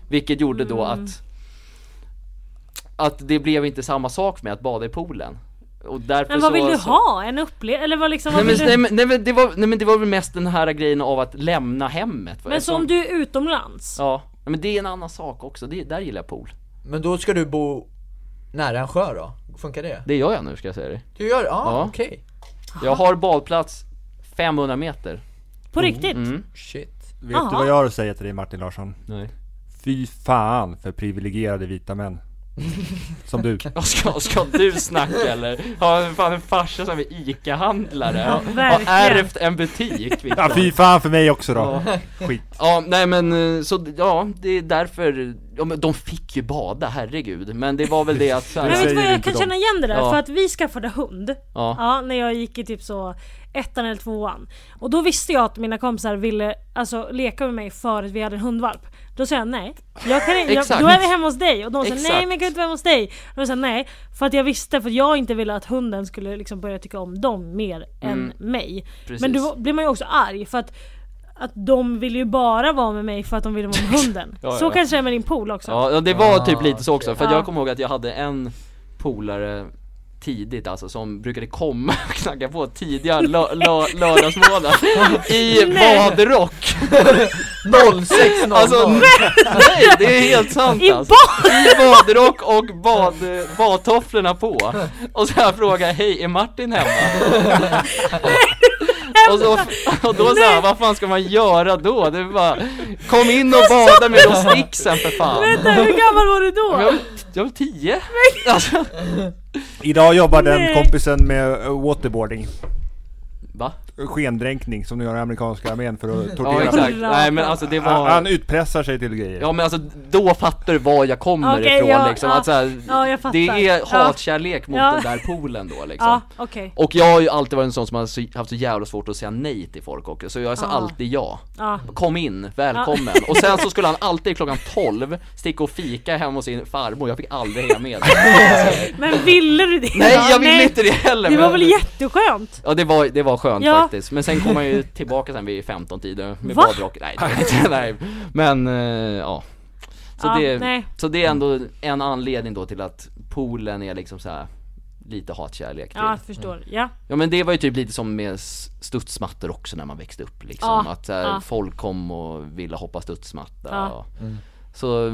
Vilket gjorde då Mm. att Att det blev inte samma sak med att bada i poolen och därför men vad så, vill du så, ha? En upplevelse? Eller vad liksom, vad Nej men, nej, men, vill du... nej, men det var, nej men det var väl mest den här grejen av att lämna hemmet va? Men så Eftersom- om du är utomlands? Ja, nej, men det är en annan sak också, det, där gillar jag pool Men då ska du bo nära en sjö då? Funkar det? Det gör jag nu ska jag säga dig Du gör, ah, Ja. ja okej Jag har badplats 500 meter På riktigt? Mm. Shit. Vet Aha. du vad jag har att säga till dig Martin Larsson? Nej. Fy fan för privilegierade vita män. Som du. Ska, ska du snacka eller? Har fan en farsa som är ICA-handlare? Har- Har verkligen. ärvt en butik? Victor. Ja, fy fan för mig också då. Skit. Ja, nej men eh, så, ja, det är därför, ja, men de fick ju bada, herregud. Men det var väl det att så Men här, vet du säger vad jag inte kan de. känna igen det där? Ja. För att vi skaffade hund ja, Ja, när jag gick i typ så ettan eller tvåan. Och då visste jag att mina kompisar ville alltså, leka med mig förut vi hade en hundvalp. Då sa jag nej. Jag kan, jag, Exakt. då är vi hemma hos dig. Och de sa nej Exakt. men jag kan inte vara hemma hos dig. Då sa jag nej. För att jag visste, för att jag inte ville att hunden skulle liksom börja tycka om dem mer Mm. än mig. precis. Men då blir man ju också arg för att att de ville ju bara vara med mig för att de ville vara med hunden. Ja, ja, så ja. kanske det är med din pool också. Ja, ja, det var Ah, typ lite så också, för att Ja. jag kommer ihåg att jag hade en polare tidigt alltså, som brukade komma och knacka på tidiga lö- lö- lördagsmorgnar i Nej. badrock! 0600! Alltså nej, det är helt sant I alltså. I badrock och bad, badtofflorna på. Och så här frågar hej är Martin hemma? Och, så, och då så här, vad fan ska man göra då? Det är bara, kom in och bada med de sticksen för fan. Vänta, hur gammal var du Men då? Jag, jag var tio. Alltså, Idag jobbar den Nej. kompisen med eh, waterboarding. va? Skendränkning som du gör i amerikanska armén för att Ja tortera. exakt, nej men alltså det Han han var utpressar sig till grejer. Ja men alltså då fattar du var jag kommer Okej, ifrån ja, liksom, ja. att så här, Ja, jag fattar. Det är Ja. hatkärlek mot Ja. den där poolen då liksom Ja, okej. Och jag har ju alltid varit en sån som har så- haft så jävla svårt att säga nej till folk också, så jag sa Ah. alltid ja. Ja. Kom in, välkommen. Och sen så skulle han alltid klockan 12 sticka och fika hemma hos sin farmor, jag fick aldrig hänga med. Men ville du det? nej Ja, jag ville inte det heller! Det men- var väl jätteskönt? Ja det var, det var skönt Ja. faktiskt, men sen kom han ju tillbaka sen vid 15 tiden med Va? badrock, nej, det var inte- nej men eh, ja så, Ja, det, nej. så det är ändå en anledning då till att poolen är liksom så här lite hatkärlek till. Ja, Ja. jag förstår. Ja. men det var ju typ lite som med s- studsmattor också när man växte upp liksom, Ja, att så här, ja. folk kom och ville hoppa studsmatta Ja. och, Så,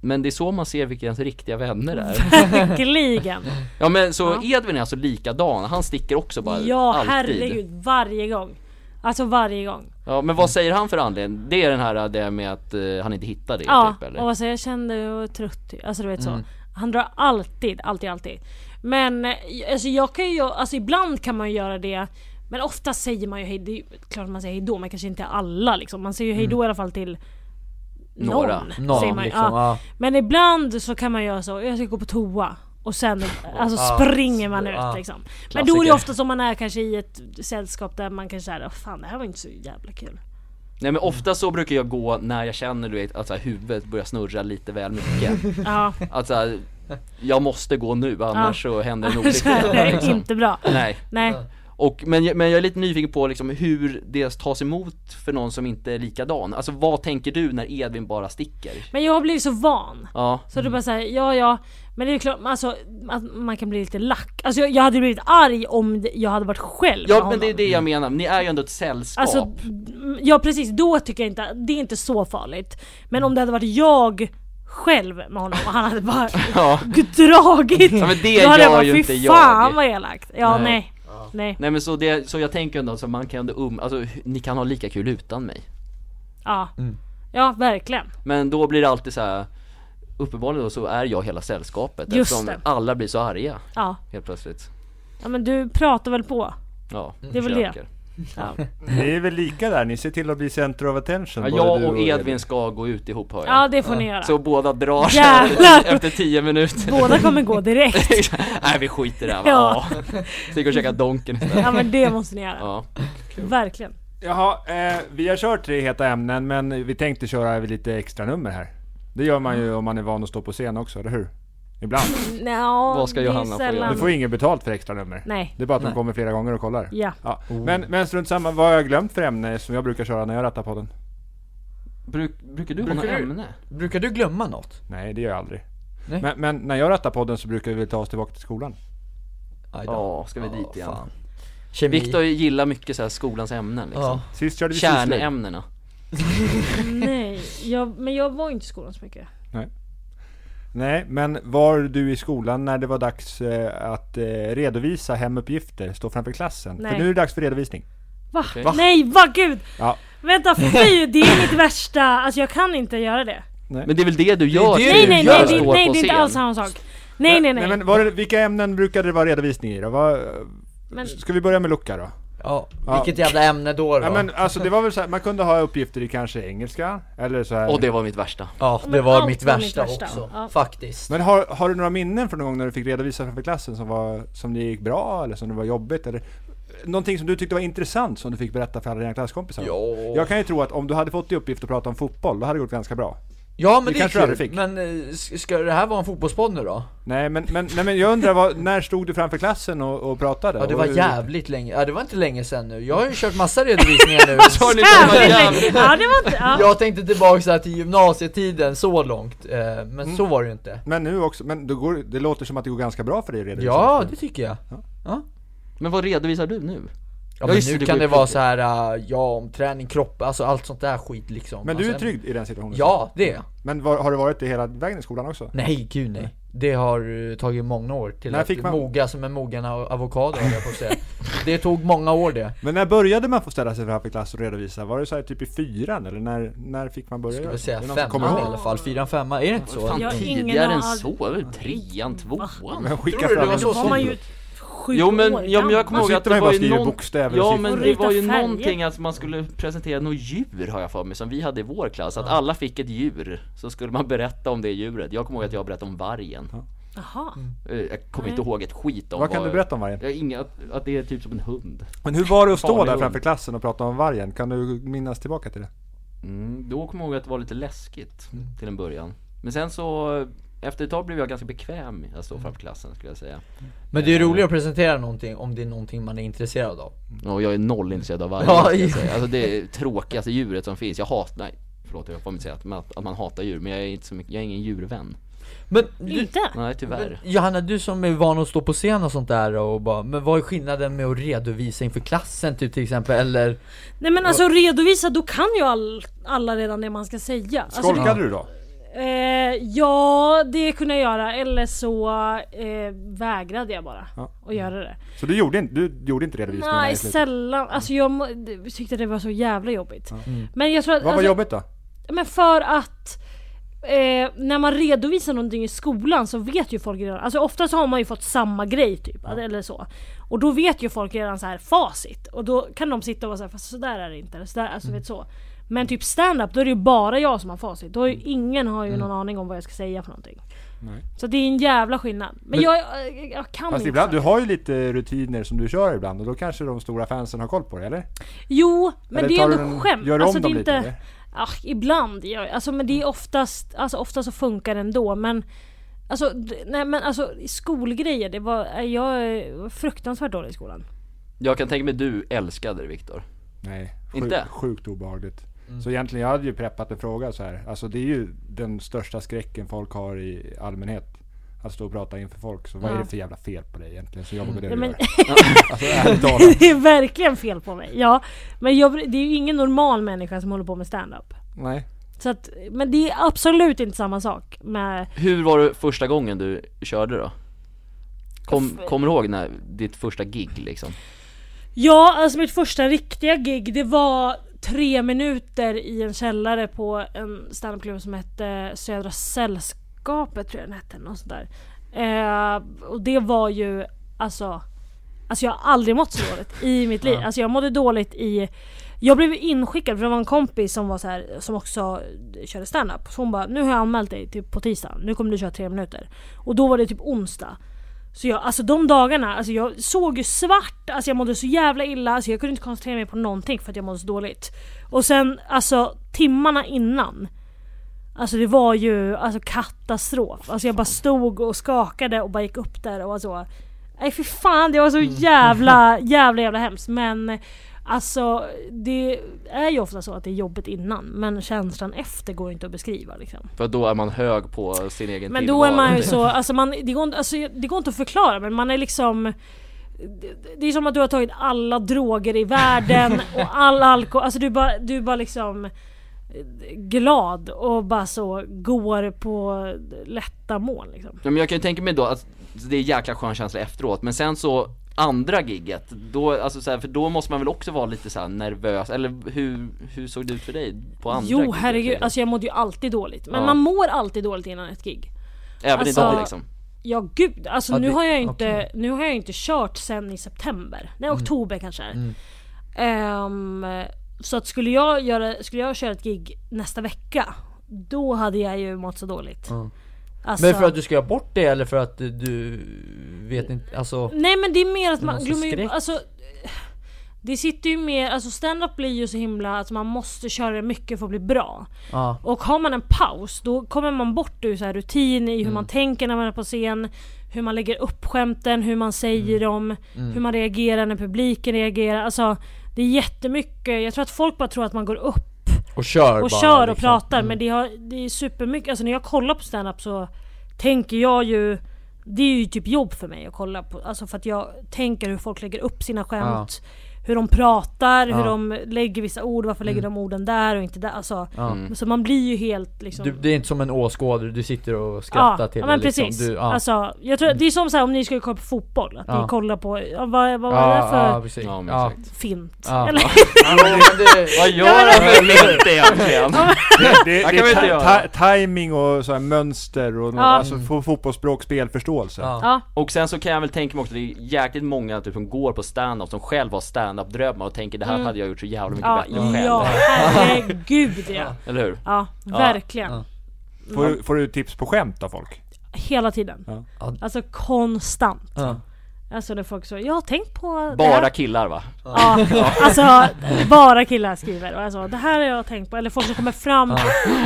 men det är så man ser vilka ens riktiga vänner är Verkligen. Ja men så Edvin är alltså likadan, han sticker också bara Ja, alltid herregud. Varje gång. Alltså varje gång. Ja men vad säger han för anledning? Det är den här det med att eh, han inte hittade det Ja, typ eller? Mm. och alltså jag kände jag var trött. Alltså du vet så. Han drar alltid, alltid, alltid. Men eh, alltså jag kan ju, alltså ibland kan man ju göra det. Men ofta säger man ju hej, det är ju klart man säger hej då men kanske inte alla liksom. Man säger ju hej då i alla fall till någon. Mm. Några. Någon, säger man ju. liksom, ja. ja. Men ibland så kan man göra så, jag ska gå på toa och sen alltså, Ja, springer man så- ut ja. liksom. Men då är det Klassiker. ofta som man är kanske i ett sällskap där man kanske är "Åh, fan det här var inte så jävla kul. Nej men ofta så brukar jag gå när jag känner du vet att så här, huvudet börjar snurra lite väl mycket Ja, Att så här, jag måste gå nu annars så händer en så här, det olycka är liksom. inte bra. Nej, Nej. och, men, jag- men jag är lite nyfiken på liksom hur det tas emot för någon som inte är likadan Alltså vad tänker du när Edvin bara sticker? Men jag har blivit så van. Ja, Så det är bara såhär, ja ja. Men det är ju klart, alltså, att man kan bli lite lack. Alltså jag, jag hade blivit arg om det- jag hade varit själv med ja men honom. det är det jag menar, ni är ju ändå ett sällskap Alltså, mm, ja precis, då tycker jag inte, det är inte så farligt. Men om det hade varit jag själv med honom och han hade bara ja. dragit. Ja, men det då hade gör jag bara, ju fy inte jag." fan vad elakt. Ja Nej. nej. Nej. Nej men så, det, så jag tänker ändå så man kan ändå um, alltså h- ni kan ha lika kul utan mig Ja. Mm. Ja verkligen. Men då blir det alltid så här. Uppenbarligen då så är jag hela sällskapet Just eftersom det. alla blir så arga Ja. helt plötsligt ja men du pratar väl på? Ja, Det är väl det. det Ja, Ni är väl lika där, ni ser till att bli center of attention. ja, både Jag du och Edvin ska gå ut ihop hör jag ja det får ni göra. Så båda drar sig Jävlar! efter tio minuter Båda kommer gå direkt. Nej vi skiter i det här va? Ja. Ja Sticker och käkar donken istället Ja men det måste ni göra. Ja, Verkligen. Jaha, eh, vi har kört tre heta ämnen men vi tänkte köra lite extra nummer här. Det gör man ju om man är van att stå på scen också, eller hur? Ibland. Nå, Vad ska det är Johanna få göra? sällan- Du får ingen betalt för extra nummer. Nej. Det är bara att de kommer flera gånger och kollar. Ja. Ja. Men, men strunt samma, vad har jag glömt för ämne som jag brukar köra när jag rattar podden? Bruk, Brukar du ha Brukar något du- ämne? Brukar du glömma något? Nej, det gör jag aldrig. Nej. Men, men när jag rattar podden så brukar vi väl ta oss tillbaka till skolan. Aj då. Ja, ska vi dit Ja, igen? fan. Kemi. Viktor gillar mycket så här skolans ämnen liksom ja. Sist körde vi syslöjd. Kärnämnena Nej. Jag, men jag var inte i skolan så mycket. Nej, men var du i skolan när det var dags eh, att eh, redovisa hemuppgifter, stå framför klassen? Nej. För nu är det dags för redovisning. Va? Okej. Nej, vad gud! Ja. Vänta, fy! Det är mitt värsta, alltså jag kan inte göra det. Men det är väl det du gör? det till när Nej nej du du gör. nej, står det, på nej det är inte scen? alls samma sak. Nej nej nej. men var det, vilka ämnen brukade det vara redovisning i då? Vad, Men- Ska vi börja med Luca då? Ja, Ja. vilket jävla ämne då då? Ja, men, alltså, det var väl så här, man kunde ha uppgifter i kanske engelska, eller så här. Och det var mitt värsta. Ja, det Men var allt mitt var värsta, mitt värsta. också, Ja. faktiskt. Men har, har du några minnen från någon gång när du fick redovisa framför klassen som, var, som det gick bra eller som det var jobbigt? Eller eh, någonting som du tyckte var intressant som du fick berätta för alla dina klasskompisar? Ja. Jag kan ju tro att om du hade fått i uppgift att prata om fotboll, då hade det gått ganska bra. Ja men det, Det är kanske du kul, aldrig fick. men eh, s- ska det här vara en fotbollspodd nu då? Nej men, men, nej, men jag undrar, vad, när stod du framför klassen och, och pratade? Ja det Och var hur- jävligt länge, ja det var inte länge sen nu, jag har ju kört massa redovisningar nu Har ni Ja, någon men- jävla- Ja det var inte, ja. Jag tänkte tillbaka så här till gymnasietiden så långt, eh, men Mm. så var det ju inte Men nu också, men då går, det låter som att det går ganska bra för dig redan. Ja det tycker jag Men vad redovisar du nu? Ja, Ja, men just nu det, det kan går det ju vara skit. så här, eh, ja om träning, kropp, alltså allt sånt där skit liksom Men du är alltså, trygg i den situationen? Ja, det är jag. Men var, har du varit det hela vägen i skolan också? Nej, gud nej. Det har eh, tagit många år till När att fick man- moga som en mogen av- avokado höll jag på att säga. Det tog många år det. Men när började man få ställa sig framför klass och redovisa? Var det så här typ i fyran eller när, när fick man börja? Skulle göra jag det? säga Är det någon som femman kommer i ihåg? alla fall, fyran, femma, är det inte så? Fan Jag har ingen tidigare än aning. så, väl trean, tvåan? Men skicka Tror du det fram var en så Då var man stor? ju sju Jo men, år ja, men jag kommer Nu ihåg att sitter man det ju var ju bara och skriver någon... bokstäver och Ja siffror. men det Rita var ju färger. någonting att man skulle presentera något djur har jag för mig som vi hade i vår klass. Att alla fick ett djur. Så skulle man berätta om det djuret. Jag kommer ihåg att jag berättade om vargen. Jaha. Eh, Jag kommer inte ihåg ett skit om Vad kan du berätta om vargen? Jag har inga, att, att det är typ som en hund. Men hur var det att stå Farlig där hund. framför klassen och prata om vargen? Kan du minnas tillbaka till det? Mm, då kommer jag ihåg att det var lite läskigt Mm. till en början. Men sen så, efter ett tag blev jag ganska bekväm med att stå framför klassen skulle jag säga. Men det är roligare att presentera någonting om det är någonting man är intresserad av. Och jag är noll intresserad av vargar Ja, ska jag ja. säga. Alltså det är tråkigaste djuret som finns. Jag hatar, nej förlåt jag får inte säga att, man- att man hatar djur men jag är inte så mycket, jag är ingen djurvän. Men du, Inte? Nej tyvärr. Johanna, du som är van att stå på scen och sånt där och bara, men vad är skillnaden med att redovisa inför klassen typ till exempel, eller? Nej men alltså redovisa, då kan ju all, alla redan det man ska säga. Alltså, Skolkade du då? Eh, ja, det kunde jag göra. Eller så eh, vägrade jag bara Ja. att göra det. Så du gjorde inte, du gjorde inte Mm. redovisningen? här i Nej, slutet? sällan. Alltså jag må- det- tyckte det var så jävla jobbigt. Mm. Men jag tror att... Vad var alltså, jobbigt då? Men för att... Eh, när man redovisar någonting i skolan så vet ju folk redan, alltså ofta så har man ju fått samma grej typ, eller så. Och då vet ju folk redan så här facit. Och då kan de sitta och vara såhär, fast sådär är det inte, eller sådär, Mm. alltså vet så. Men typ stand-up då är det ju bara jag som har facit. Då är Mm. ju, ingen har ju någon aning om vad jag ska säga för någonting. Så det är en jävla skillnad. Men, jag, jag, jag kan Fast inte. ibland, så du här. har ju lite rutiner som du kör ibland och då kanske de stora fansen har koll på det, eller? Jo, men Eller det är tar du ändå den- skämt. Gör du om alltså, det dem är lite? inte... eller? Mm. Ah, ibland gör alltså, men det är oftast, alltså ofta så funkar det ändå men Alltså, d- nej men alltså skolgrejer, det var, eh, jag är fruktansvärt dålig i skolan. Jag kan tänka mig du älskade det Viktor. Nej, Inte? Sjuk, sjukt obehagligt. Så egentligen, jag hade ju preppat en fråga så här. Alltså det är ju den största skräcken folk har i allmänhet. Att stå och prata inför folk. Så vad är det för jävla fel på dig egentligen? Så jobbar med det du Mm. men- gör. Alltså ärligt talat. Det är verkligen fel på mig. Ja, men jag, det är ju ingen normal människa som håller på med stand-up. Nej. Så att, men det är absolut inte samma sak med... Hur var det första gången du körde då? Kom, Alltså- kommer du ihåg när, ditt första gig liksom? Ja, alltså mitt första riktiga gig det var tre minuter i en källare på en standupklubb som hette Södra Sällskapet tror jag den hette, något sånt där. Eh, och det var ju alltså, alltså jag har aldrig mått så dåligt i mitt liv. Alltså jag mådde dåligt i jag blev inskickad för det var en kompis som var så här, som också körde standup. Så hon bara, nu har jag anmält dig typ på tisdag, nu kommer du köra tre minuter. Och då var det typ onsdag. Så jag, alltså de dagarna, alltså jag såg ju svart, alltså jag mådde så jävla illa, alltså jag kunde inte koncentrera mig på någonting för att jag mådde så dåligt. Och sen alltså timmarna innan, alltså det var ju alltså katastrof. Alltså jag bara stod och skakade och bara gick upp där och var så. Nej för fan det var så jävla, jävla jävla hemskt. Men alltså det är ju ofta så att det är jobbigt innan men känslan efter går inte att beskriva liksom. För då är man hög på sin egen Men tillvaro. då är man ju så, alltså, man, det, går, inte- alltså det går inte att förklara men man är liksom det- det är som att du har tagit alla droger i världen och all alkohol, alltså du bara, du bara liksom eh, glad och bara så går på lätta moln liksom. Ja, men jag kan ju tänka mig då att det är en jäkla skön känsla efteråt men sen så andra gigget? Då, alltså så här, för då måste man väl också vara lite så här nervös, eller hur, hur såg det ut för dig på andra Jo gigget, herregud, liksom? alltså jag mådde ju alltid dåligt. Men Ja. man mår alltid dåligt innan ett gig. Även alltså- idag liksom? Ja gud, alltså Ja, nu, det- har jag ju inte, okej. Mm. nu har jag ju inte kört sen i september. Nej oktober kanske är. Ehm, Så att skulle jag, göra, skulle jag köra ett gig nästa vecka, då hade jag ju mått så dåligt. Alltså, Men för att du ska göra bort det eller för att du- du vet inte, alltså Nej men det är mer att Men man alltså glömmer ju, skräck. alltså Det sitter ju mer, alltså stand-up blir ju så himla att man måste köra det mycket för att bli bra. ja. Och har man en paus då kommer man bort ur så här rutin i hur man tänker när man är på scen, hur man lägger upp skämten, hur man säger dem, hur man reagerar när publiken reagerar. Alltså det är jättemycket, jag tror att folk bara tror att man går upp Och kör och bara, kör och liksom. pratar men det, har, det är supermycket, alltså när jag kollar på stand-up så tänker jag ju Det är ju typ jobb för mig att kolla på, alltså för att jag tänker hur folk lägger upp sina skämt Hur de pratar, hur Ja. Mm. de lägger vissa ord, varför lägger de orden där och inte där? Alltså, Ja. Så man blir ju helt liksom Du, det är inte som en åskådare, du sitter och skrattar till ja, men det, liksom. precis. Du, ja. alltså, jag tror, det är som så här, om ni skulle kolla på fotboll, att ni Ja. kollar på, ja, vad, vad var det ja, där för ja, precis. Ja, men Ja. exakt. fint? Ja. Eller, Ja, men det- Vad gör han med liksom lint egentligen? Det, det, kan det vi är inte ta- göra. ta- timing och så här mönster och no- alltså, få fotbollsspråk, spelförståelse. Ja. ja. Och sen så kan jag väl tänka mig också, det är jäkligt många typ, som går på stand-up som själv har stand-up drömmar och tänker det här hade jag gjort så jävla mycket Mm. Ja, bättre ja, själv. herregud ja. Eller hur? Ja, verkligen. Ja. Får, du- får du tips på skämt av folk? Hela tiden. Ja. Ja. Alltså konstant. Ja. Alltså när folk så, jag har tänkt på det Bara här. killar va? Ja, alltså bara killar skriver och alltså, det här har jag tänkt på, eller folk som kommer fram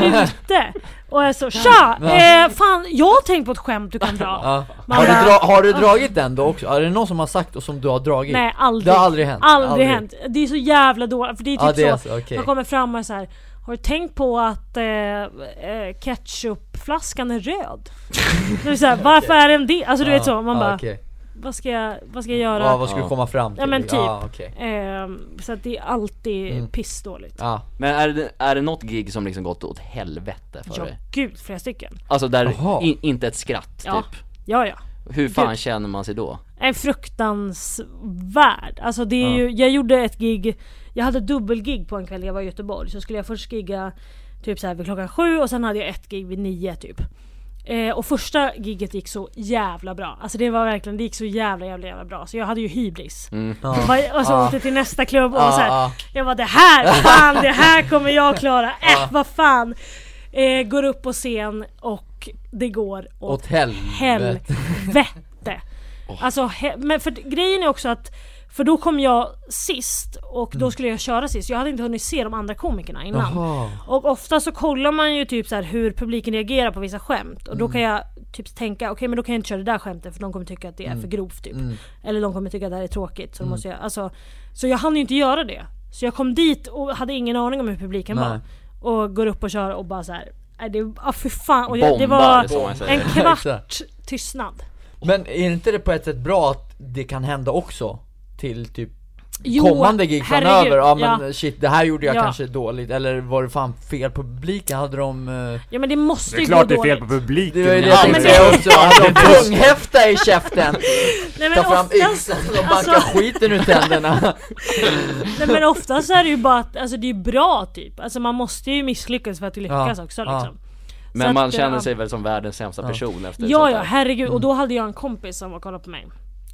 ute och är så Tja! Eh, fan, jag har tänkt på ett skämt du kan dra. Ja. Man Har, du bara- dra, har du dragit den då också? Är det någon som har sagt och som du har dragit? Nej aldrig. Det har aldrig hänt? Aldrig, hänt. Det är så jävla dåligt, för det är typ Ja, det är så. så, okej. Man kommer fram och är så här. Har du tänkt på att eh, eh, ketchupflaskan är röd? Då är det så här, varför är den det? Alltså du vet så, man ja, bara okej. vad, ska jag, vad ska jag göra? Ja, vad ska du komma fram till? Ja, men typ. Ja, okej. Ehm, så att det är alltid pissdåligt. ja. Men är det, är det något gig som liksom gått åt helvete för Ja dig? gud, flera stycken. Alltså där, Jaha. in, inte ett skratt Ja. typ? Ja ja. Hur fan Gud. känner man sig då? En fruktansvärd. Alltså det är ju, jag gjorde ett gig, jag hade dubbelgig på en kväll jag var i Göteborg. Så skulle jag först gigga typ så här vid klockan sju och sen hade jag ett gig vid nio typ. Eh, och första giget gick så jävla bra. Alltså det var verkligen, det gick så jävla jävla jävla bra. Så jag hade ju hybris. Och var- Och så Mm. Ja. åkte jag till nästa klubb och Ja, så här, ja. jag bara det här, fan det här kommer jag klara, äh vad fan. Eh, går upp på scen och det går åt, Åt helvete. helvete. Alltså, he- men för grejen är också att för då kom jag sist och då skulle jag köra sist. Jag hade inte hunnit se de andra komikerna innan. Jaha. Och ofta så kollar man ju typ så här hur publiken reagerar på vissa skämt. Och då kan jag typ tänka, okej men då kan jag inte köra det där skämtet för de kommer tycka att det är för grovt typ. Eller de kommer tycka att det här är tråkigt. Så, då måste jag, alltså, så jag hann ju inte göra det. Så jag kom dit och hade ingen aning om hur publiken Nej. var. Och går upp och kör och bara så här. "Nej, Det, ah, för fan. Och jag, det Bombar var som man säger. en kvart Exakt. tystnad. Men är inte det på ett sätt bra att det kan hända också? Till typ kommande gig framöver? Ja men shit, det här gjorde jag Ja. kanske dåligt, eller var det fan fel på publiken? Hade de... eh, Ja men det måste Det är ju klart gå det är fel på dåligt. publiken. Det var ju det Ja, jag tänkte men det- säga också, hade de punghäfta i käften? Nej, men Ta fram oftast- yxan och banka alltså- skiten ur tänderna Nej men oftast är det ju bara att, alltså det är ju bra typ. Alltså man måste ju misslyckas för att lyckas Ja, också ja. liksom. Men man att, känner ja. sig väl som världens sämsta person efter Ja sånt ja där. herregud, och Mm. då hade jag en kompis som var och kollade på mig.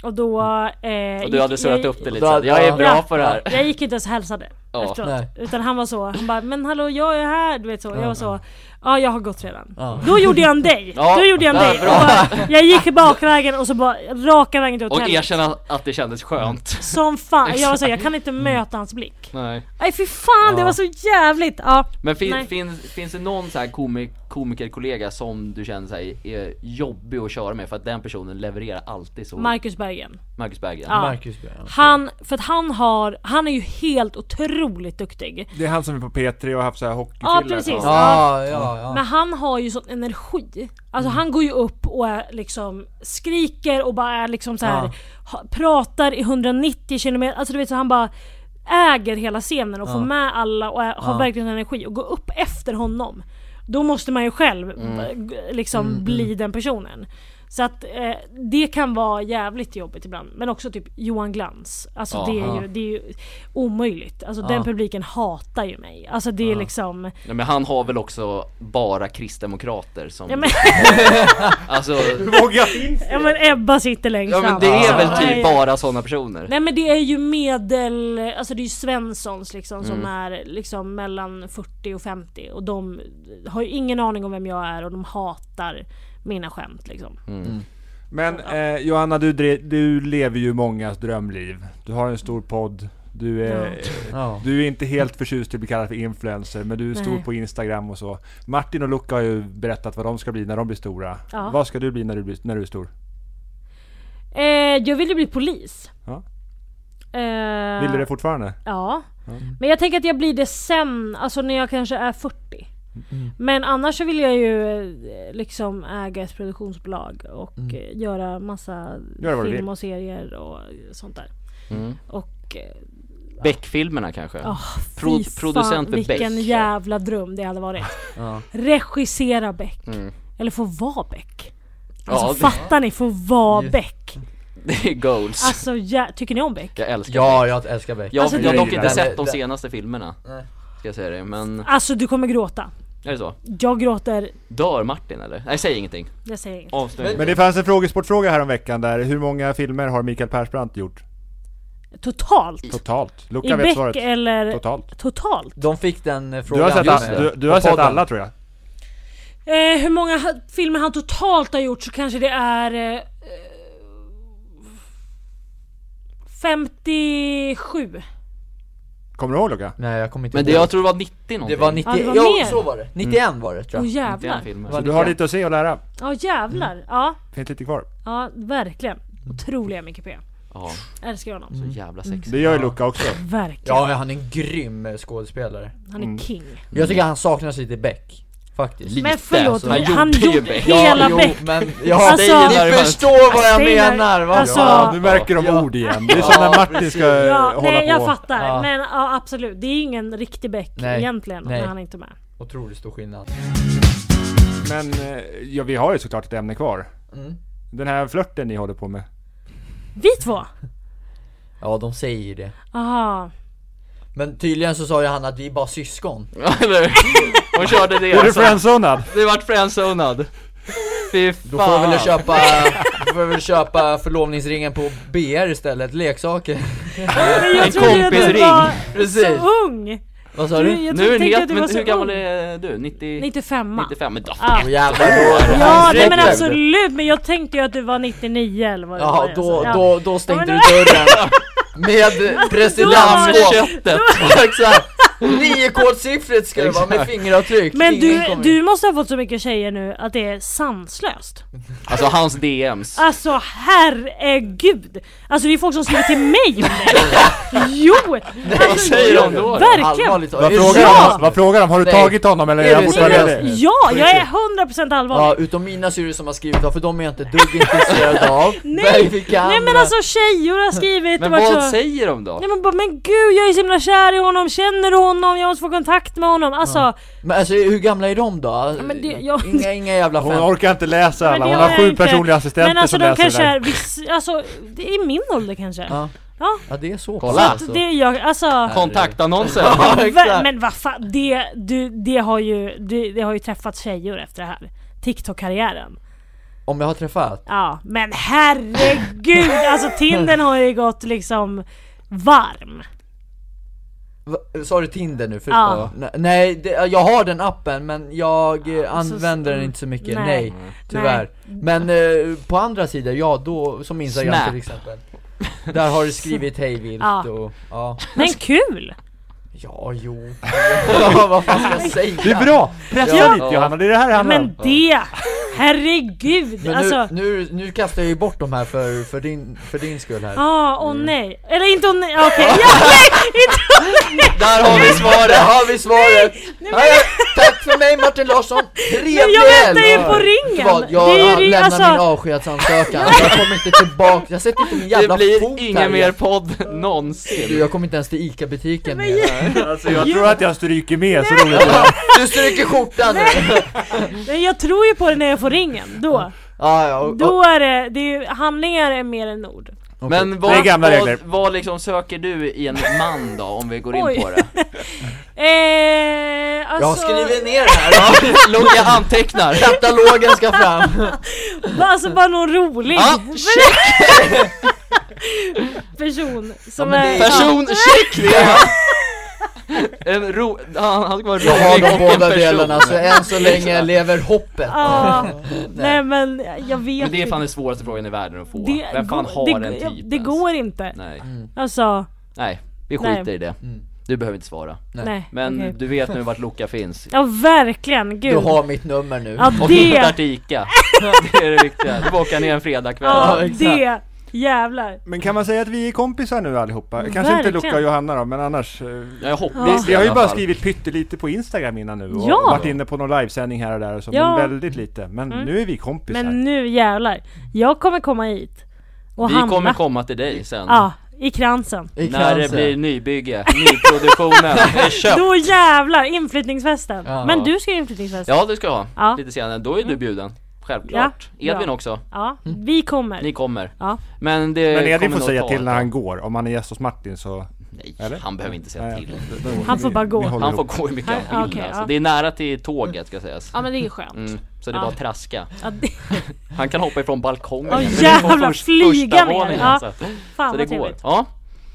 Och då... Eh, Och du hade surrat upp det lite, då så hade- jag är ja. bra på det här. Jag gick inte ens och hälsade Ja. efteråt. Nej. Utan han var så, han bara 'Men hallå jag är här' du vet så. Jag var så, ja jag har gått redan. Ja. Då gjorde jag en dig! Ja, Då gjorde jag en ja, dig! Och bara, jag gick bakvägen och så bara raka vägen till Och hotellet. erkänna att det kändes skönt. Som fan, jag var så, jag kan inte möta hans blick. Nej. Nej fy fan det var så jävligt! Ja. Men fin, Nej. finns, finns det någon så här komik, komikerkollega som du känner så här är jobbig att köra med för att den personen levererar alltid så? Marcus Bergen. Marcus Berggren? Ja. Marcus Björn. Han, för att han har, han är ju helt otroligt duktig. Det är han som är på P3 och har haft så här hockeyfillar. Ja precis. Ja, Ja. ja, Mm. ja. Men han har ju sån energi. Alltså han går ju upp och är liksom skriker och bara är liksom så här, Ja. ha, pratar i 190 kilometer. Alltså du vet så han bara äger hela scenen och får med alla och är, har verkligen energi. Och gå upp Mm. efter honom. Då måste man ju själv eh, g- liksom bli den personen. Så att eh, det kan vara jävligt jobbigt ibland. Men också typ Johan Glans. Alltså det är, Aha. ju, det är ju omöjligt. Alltså den publiken hatar ju mig. Alltså det är liksom... Ja, men han har väl också bara kristdemokrater som... Ja men, Alltså, Våga finns ja, men Ebba sitter längst ja, fram. men det är liksom. väl typ Nej. bara sådana personer. Nej men det är ju medel, alltså det är ju Svenssons liksom Mm. som är liksom mellan 40 och 50 och de har ju ingen aning om vem jag är och de hatar mina skämt liksom. Men eh, Johanna, du, dre- du lever ju mångas drömliv. Du har en stor podd. Du är, Ja. du är inte helt förtjust i att bli kallad för influencer, men du är stor Nej. på Instagram och så. Martin och Luca har ju berättat vad de ska bli när de blir stora. Ja. Vad ska du bli när du, blir, när du är stor? Eh, jag ville bli polis. Ja. Eh, Vill du det fortfarande? Ja. Men jag tänker att jag blir det sen, alltså när jag kanske är 40. Men annars så vill jag ju eh, liksom äga ett produktionsbolag och eh, göra massa Gör vad du film vill. och serier och sånt där. Och eh, Beck-filmerna kanske? Ah, fy Pro- fan, producenten vilken Beck. jävla dröm det hade varit. Ja. Regissera Beck. Eller få vara Beck. Alltså Ja, det, fattar ni? Få vara Beck. det är goals. Alltså jä- tycker ni om Beck? jag älskar Beck. ja, jag älskar Beck. Jag, Alltså, jag har det- dock inte det- sett de det- senaste filmerna. Nej. Ska jag säga det, men... Alltså du kommer gråta. Är det så? Jag gråter, Dör Martin eller? Nej, säg ingenting. jag säger inget. Avslöja. Men det fanns en frågesportfråga här om veckan där. Hur många filmer har Mikael Persbrandt gjort? Totalt. Totalt. I Luca vet Beck svaret. eller Totalt. totalt? De fick den eh, Du frågan. har sett, just alla, det. du, du har På sett podden. alla tror jag. Eh, hur många ha- filmer han totalt har gjort så kanske det är... Eh, eh, 57. Kommer du ihåg Luca? Nej, jag kommer inte Men det, ihåg. jag tror det var 90 någonting. Det var 90, Ja, det var ja mer. Mm. Oh, så var det. 91 var det Åh tror jag. Inte en jävlar. film. Mm. Det var Du har 91. lite att se och lära. Ja jävlar. Ja, Finns lite kvar. ja verkligen. Otroliga Micke P. Ja, Älskar honom. så jävla sexigt. Det gör ju Luca också. Verkligen. Ja, han är en grym eh, skådespelare. Han Mm. är king. Eh, Jag tycker han saknas lite i Beck. Faktiskt. Lite, Men förlåt, så- han gjorde ju ju Beck. helt- Hela Beck. men jag Alltså- Säger när ni det var- förstår vad jag Säger när- menar va? Alltså- Ja, nu märker de Ja. ord igen. Det är som när Martin ska eh, Ja, hålla nej på. jag fattar. Ja. Men ja, absolut. Det är ingen riktig Beck Nej. egentligen Nej. när han är inte är med. Otroligt stor skillnad. Men eh, ja, vi har ju såklart ett ämne kvar. Mm. Den här flörten ni håller på med. Vi två? Ja, de säger ju det. Aha. Men tydligen så sa ju han att vi är bara syskon. Ja, Eller Hon körde det Är du alltså. friendzonad? Det vart friendzonad. Fy Då får jag fan. väl köpa, då får jag väl köpa förlovningsringen på BR istället, leksaker. Men jag En trodde ju att du kompisring. var Precis. så ung. Vad sa Du, du? jag Nu är trodde, ni tänkte att helt, du var men så hur gammal ung. är du? 90? 95. 95? Men då, Ah. Åh, jävlar, då- Ja nej, men alltså- Släpp det. absolut, men jag tänkte ju att du var 99 eller vad det var Ja, jag då, sa. Ja. då, då stängde Ja, du men- dörren med presidentskåp. Lammköttet! Exakt! Niokodsiffrigt ska det vara med fingeravtryck. Men Ingen du, kommer- du måste ha fått så mycket tjejer nu att det är sanslöst. Alltså hans DMs. Alltså herregud! Alltså det är folk som skriver till mig om det! Jo! Alltså, Vad säger de då? då? Verkligen! Allvarligt talat. Vad Är det frågar, Ja! de? Vad frågar de? Har du Nej. tagit honom eller är Är han du fortfarande seriös? det? Ja, jag är 100% Ja, allvarlig! utom mina syrror som har skrivit, ja, för de är jag inte ett dugg intresserad av. Verifikant. Nej men alltså tjejer har skrivit Men och varit vad så... säger de då? Nej men bara, men gud jag är så himla kär i honom, känner du honom? Jag måste få kontakt med honom. Alltså, Men alltså hur gamla är de då? men det- jag- Inga, inga jävla Hon skämt. orkar inte läsa men det alla. Hon gör har jag sju inte. personliga assistenter Men alltså som de läser kanske det är, där. viss, alltså det är i min ålder kanske. Ja. Ja. ja, det är så. Kolla. Så pass. att det är jag, alltså. Kontaktannonsen! Ja, Ver- exakt. Men vad fan, det, du, det, har ju, det, det har ju träffat tjejer efter det här. TikTok-karriären. Om jag har träffat? Ja, men herregud! alltså Tindern har ju gått liksom varm. Va, sa du Tinder nu? För, Ja. ja. Ne- Nej, det, jag har den appen men jag eh, använder den inte så mycket, nej. nej, tyvärr Men eh, på andra sidor, ja då, som Instagram Snap. till exempel Där har du skrivit hej vilt Ja. och, ja Men kul! Ja, jo ja, Vad fan ska jag säga? Det är bra! Pressa Ja. dit Johanna, det är det här det handlar om. Men det! Herregud! Men alltså, nu, nu, nu kastar jag ju bort de här för, för, din, för din skull här ah, åh nej. Eller inte åh nej, okej. Ja, nej! Inte åh nej! Där har vi Där svaret! har vi svaret! Nej, Tack för mig Martin Larsson, trevlig Men jag väntar ju helg. på ringen. Vad, Det är ju Jag ring- lämnar alltså- min avskedsansökan, jag kommer inte tillbaka, jag sätter inte min jävla Det fot blir här ingen mer podd Du, någonsin. jag kommer inte ens till ICA-butiken Men mer. Alltså, jag tror att jag stryker med, så roligt är det. Du stryker skjortan nu! Nej, jag tror ju på det när jag får ringen, då. Ja, ja, och, och, Då är det, det är ju, handlingar är mer än ord. Men Det vad, är gamla regler. vad, vad liksom söker du i en man då, om vi går in Oj. på det? Eh, jag har alltså, skrivit ner det här, Lugga antecknar! katalogen ska fram! Alltså bara någon rolig Ja, check! person som men är... det- Person, check! Det är han. En ro... Han, han ska vara rolig Jag har de och en båda person. delarna, så än så länge lever hoppet. Ja, nej men jag vet Men det är fan inte. den svåraste frågan i världen att få. Det Vem fan går- har det, en typ Det ens? går inte. Nej, Alltså, nej, vi skiter Nej. i det. Mm. Du behöver inte svara. Nej. nej. Men okej. du vet nu vart Loka finns. Ja verkligen, gud. Du har mitt nummer nu. Ja Och hittar det, till Ica. Det är det viktiga. Du får åka ner en fredagkväll. ja Ja, exakt. det, jävlar. Men kan man säga att vi är kompisar nu allihopa? Kanske inte Mm, verkligen. Luca och Johanna då, men annars... eh, Ja, Jag hoppas Vi, det vi i har ju alla bara fall. skrivit pyttelite på Instagram innan nu och Ja. varit inne på någon livesändning här och där och så, Ja. Mm. men väldigt lite. Men nu är vi kompisar. Men nu jävlar. Jag kommer komma hit och Vi hamna. kommer komma till dig sen. Ja, i kransen. I När det cancer. blir nybygge, nyproduktionen är köpt. Då jävlar, inflyttningsfesten. Ja. Men du ska ju inflyttningsfest. Ja det ska jag ha, Ja. Mm. lite senare. Då är du bjuden. Självklart. Ja, Edvin bra. också. Ja, vi kommer. Ni kommer. Ja. Men det Men Edvin kommer får nog säga ta till ett när tag. han går. Om han är gäst hos Martin så... Nej, Eller? han behöver inte säga Nej, till. då- då- Han får ni- bara gå. ni håller Han får ihop. gå hur mycket Nej, han vill okej, alltså. ja. Det är nära till tåget ska sägas. men det är skönt. Mm, så det är Ja. bara att traska. Ja, det, Han kan hoppa ifrån balkongen. Åh, Men det är jävlar, på först- flyga första ner. våningen, Ja. alltså. fan Så vad det går. trevligt. Ja,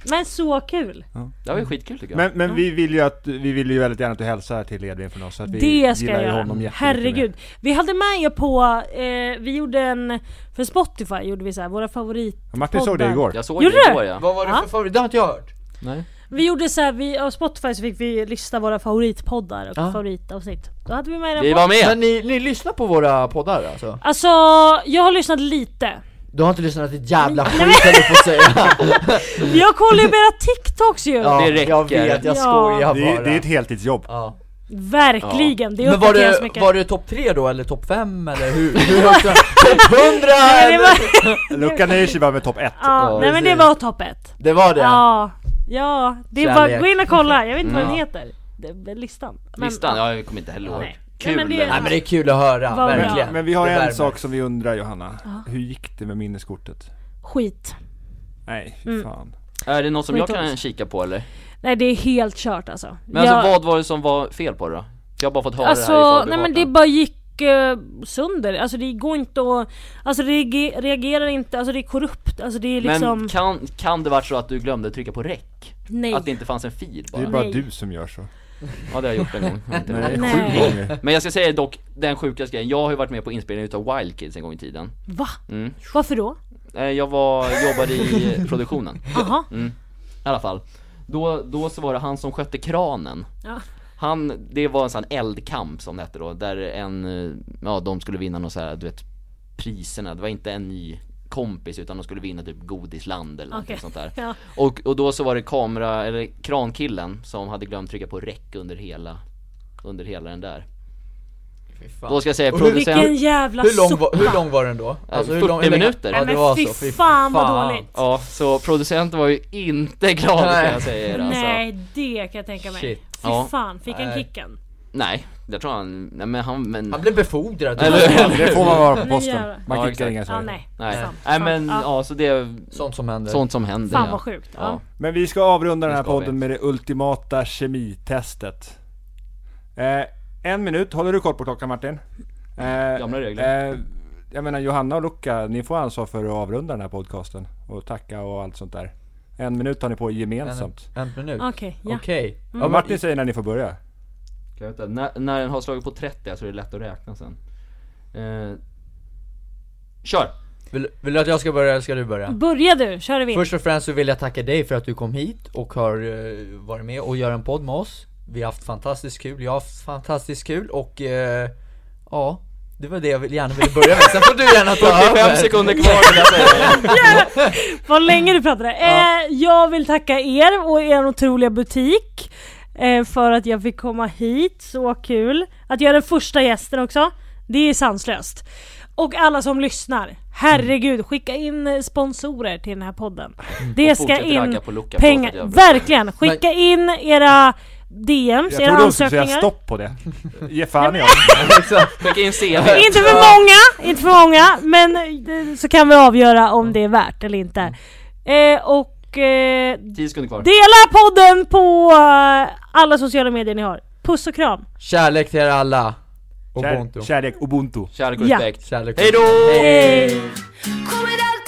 Men så kul. det var ju skitkul tycker jag. Men, men vi, vill ju att, vi vill ju väldigt gärna att du hälsar till Edvin från oss. Så att vi det ska gillar jag ju göra. honom jättemycket Herregud. Vi hade med er på, eh, vi gjorde en, för Spotify gjorde vi så här, våra favorit... mer. Martin såg det igår. Jag såg Gjorde det du? igår ja. Vad var det Ja. för favorit? Det har inte jag hört. Nej. Vi gjorde så här, vi, av Spotify så fick vi lista våra favoritpoddar och Ja. favoritavsnitt. Då hade vi med den Vi på. var med! Men ni, ni lyssnar på våra poddar alltså? Alltså, jag har lyssnat lite. Du har inte lyssnat ett jävla skit höll jag på att säga. Jag kollar ju på era TikToks ju! Ja, Det räcker. Jag vet, jag Ja. skojar Det är, bara. det är ett heltidsjobb. ja. Verkligen, det Men var uppdateras det, mycket. var det topp 3 då eller topp 5 eller hur? hur högt var det? topp 100! Nej, det var, Luca nöjer sig bara med topp ett. ja, Ja, nej men det precis. var topp ett. det var det? Ja, ja, det är bara Kärlek. gå in och kolla, jag vet inte vad den Ja. heter. Det- det- Listan. Men- Listan, ja, jag kommer inte heller ihåg. Nej. Kul! Nej, men det- ändå. Nej men det är kul att höra, Vad bra. verkligen. Men vi har Det en värmer. sak som vi undrar Johanna. Hur gick det med minneskortet? Skit. Nej, fy Mm. fan. Är det något som jag Skit kan också. kika på eller? Nej det är helt kört alltså. Men alltså jag, vad var det som var fel på det då? Jag har bara fått höra det här i alltså nej förbifarten. men det bara gick eh, sönder, alltså det går inte att, alltså det reager- reagerar inte, alltså det är korrupt, alltså det är liksom, Men kan, kan det varit så att du glömde trycka på räck? nej. Att det inte fanns en fil Det är bara? bara Nej. du som gör så. Ja det har jag gjort en gång Jag har inte Nej, Nej. sju gånger. Men jag ska säga dock, den sjukaste grejen, jag har ju varit med på inspelningen utav Wild Kids en gång i tiden Va? Mm. Varför då? Eh, Jag var, jobbade i produktionen, i Jaha, alla fall då, då så var det han som skötte kranen Ja. Han, det var en sån eldkamp som det hette då, där en, eh, ja de skulle vinna någon så här, du vet Priserna, det var inte en ny kompis utan de skulle vinna typ godisland eller okej. något sånt där Ja. Och, och då så var det kamera, eller krankillen som hade glömt trycka på räck under hela under hela den där. Fy fan. Då ska jag säga Och hur- producent... Vilken jävla Hur lång, var, soppa! hur lång var den då? Alltså, hur lång, 40 hur länge- minuter. Ja, Nej det men var fy så, fy fan vad fan. dåligt! Ja, så producenten var ju inte glad Nej. kan jag säga er, alltså. Nej det kan jag tänka mig. Shit. Fy Ja. fan, fick han Nej. kicken? Nej, jag tror han, nej men han, men... Han blev befordrad Eller hur? Det får man vara på Men posten. jävlar. Ja, Man kickar exakt. inga Ja saker. nej, nej. sant, nej sant. men ja. så det är Sånt som händer sånt som händer Fan ja. vad sjukt. Ja. Ja. Men vi ska avrunda den här Det ska vi. podden med det ultimata kemitestet. Eh, en minut. Håller du koll på klockan Martin? Eh, Gamla regler. Eh, jag menar Johanna och Luca, ni får ansvar för att avrunda den här podcasten. Och tacka och allt sånt där. En minut har ni på er en, gemensamt. en minut Okej, ja. Mm. Okej, Ja, Martin säger när ni får börja. Kan jag veta, När, när den har slagit på 30 så är det lätt att räkna sen. Eh, kör! vill, vill du att jag ska börja eller ska du börja? Börja du, kör vi. Först och främst så vill jag tacka dig för att du kom hit och har eh, varit med och gör en podd med oss Vi har haft fantastiskt kul, jag har haft fantastiskt kul och eh, ja, det var det jag vill, gärna ville börja med, sen får du gärna ta 45 över sekunder kvar vill jag säga. Vad länge du pratade. Eh, jag vill tacka er och er otroliga butik eh, för att jag fick komma hit. Så kul. Att jag är den första gästen också. Det är sanslöst. Och alla som lyssnar. Herregud, skicka in eh, sponsorer till den här podden. Det ska fortsätt in ragga på Luca, förlåt att pengar. jag avbröt. Verkligen! Skicka in era DMs, Jag era trodde hon skulle säga ansökningar. stopp på det. Ge fan i Skicka in CV. Inte för många, inte för många, men eh, så kan vi avgöra om det är värt eller inte. Eh, och eh, 10 sekunder kvar. dela podden på eh, alla sociala medier ni har. Puss och kram! Kärlek till er alla. Och Kär, Ubuntu. kärlek, ubuntu. Kärlek och Ja. respekt. Kärlek. Hej då! Hej. Kommer aldrig Ah, Ah,